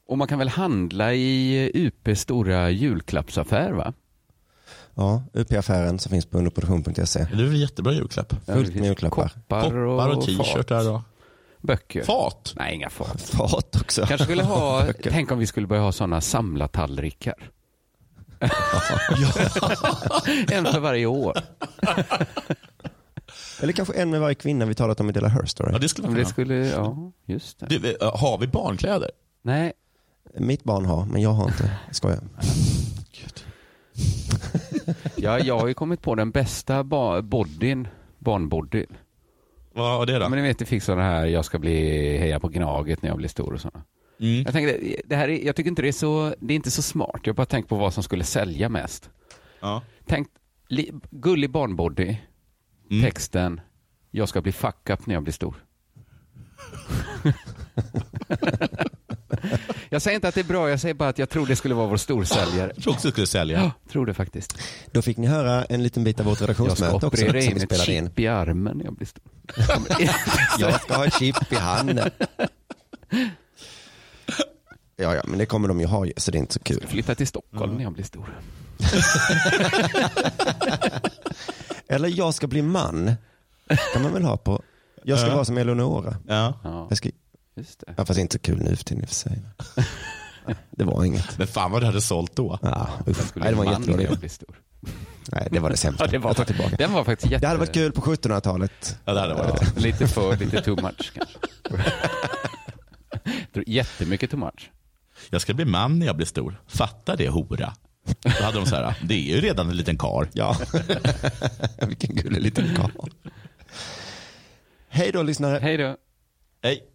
S3: Och man kan väl handla i UPs stora julklappsaffär va?
S1: Ja, UP-affären som finns på underproduktion.se.
S2: Det är väl en jättebra julklapp.
S3: Ja,
S1: E. Fullt
S3: det finns
S1: med julklappar.
S3: Koppar och,
S2: Koppar och
S3: fat.
S2: t-shirtar och
S3: Böcker.
S2: fat.
S3: Nej, inga fat.
S1: Fat också.
S3: Kanske skulle ha, tänk om vi skulle börja ha sådana samlartallrikar. en för varje år.
S1: Eller kanske en med varje kvinna vi talat om i Della Her Story.
S2: Ja, det skulle
S3: Om
S2: man
S3: det
S2: kunna.
S3: skulle, ja, just det.
S2: Du, eh, har vi barnkläder?
S3: Nej,
S1: Mitt barn har, men jag har inte. Jag skojar.
S3: ja, jag har ju kommit på den bästa ba- bodyn, barnbodyn.
S2: Vad var det då?
S3: Men ni vet, jag fick sådana här, jag ska bli heja på Gnaget när jag blir stor och sådana.
S2: Mm.
S3: Jag, tänkte, det här är, jag tycker inte det är så, det är inte så smart. Jag bara tänker på vad som skulle sälja mest.
S2: Ja.
S3: Tänk, li, gullig barnbody,
S2: Mm.
S3: texten, jag ska bli fuck up när jag blir stor. Jag säger inte att det är bra, jag säger bara att jag tror det skulle vara vår storsäljare.
S2: Jag tror också du skulle
S3: Ja,
S2: sälja.
S3: tror det faktiskt.
S1: Då fick ni höra en liten bit av vårt
S3: Jag ska
S1: redaktionsmöte också som
S3: operera in
S1: vi
S3: ett
S1: spelade in.
S3: chip i armen när jag blir stor.
S1: Jag ska ha ett chip i handen. Ja, ja, men det kommer de ju ha ju, så det är inte så kul.
S3: Flytta till Stockholm när jag blir stor.
S1: Eller jag ska bli man. kan man väl ha på. Jag ska
S2: Ja.
S1: vara som Eleonora.
S2: Ja.
S3: Ja,
S1: Jag ska,
S3: just det.
S1: ja, fast inte så kul nu för tiden i och för sig. Det var inget.
S2: Men fan vad du hade sålt då.
S1: Ja,
S3: Jag
S1: usch.
S3: skulle
S1: Nej, det var en
S3: bli man när
S1: jättedålig
S3: jag blir stor.
S1: Nej, det var det sämsta.
S3: Ja, det var,
S1: jag tar tillbaka.
S3: den var faktiskt jätte...
S1: Det hade varit kul på 1700-talet.
S2: Ja, det hade varit.
S3: Ja, lite för, lite too much kanske. Jag tror Jättemycket too much.
S2: Jag ska bli man när jag blir stor. Fatta det hora. Då hade de så här, det är ju redan en liten kar.
S1: Ja. Vilken gullig liten karl. Hej då lyssnare.
S3: Hej då.
S2: Hej.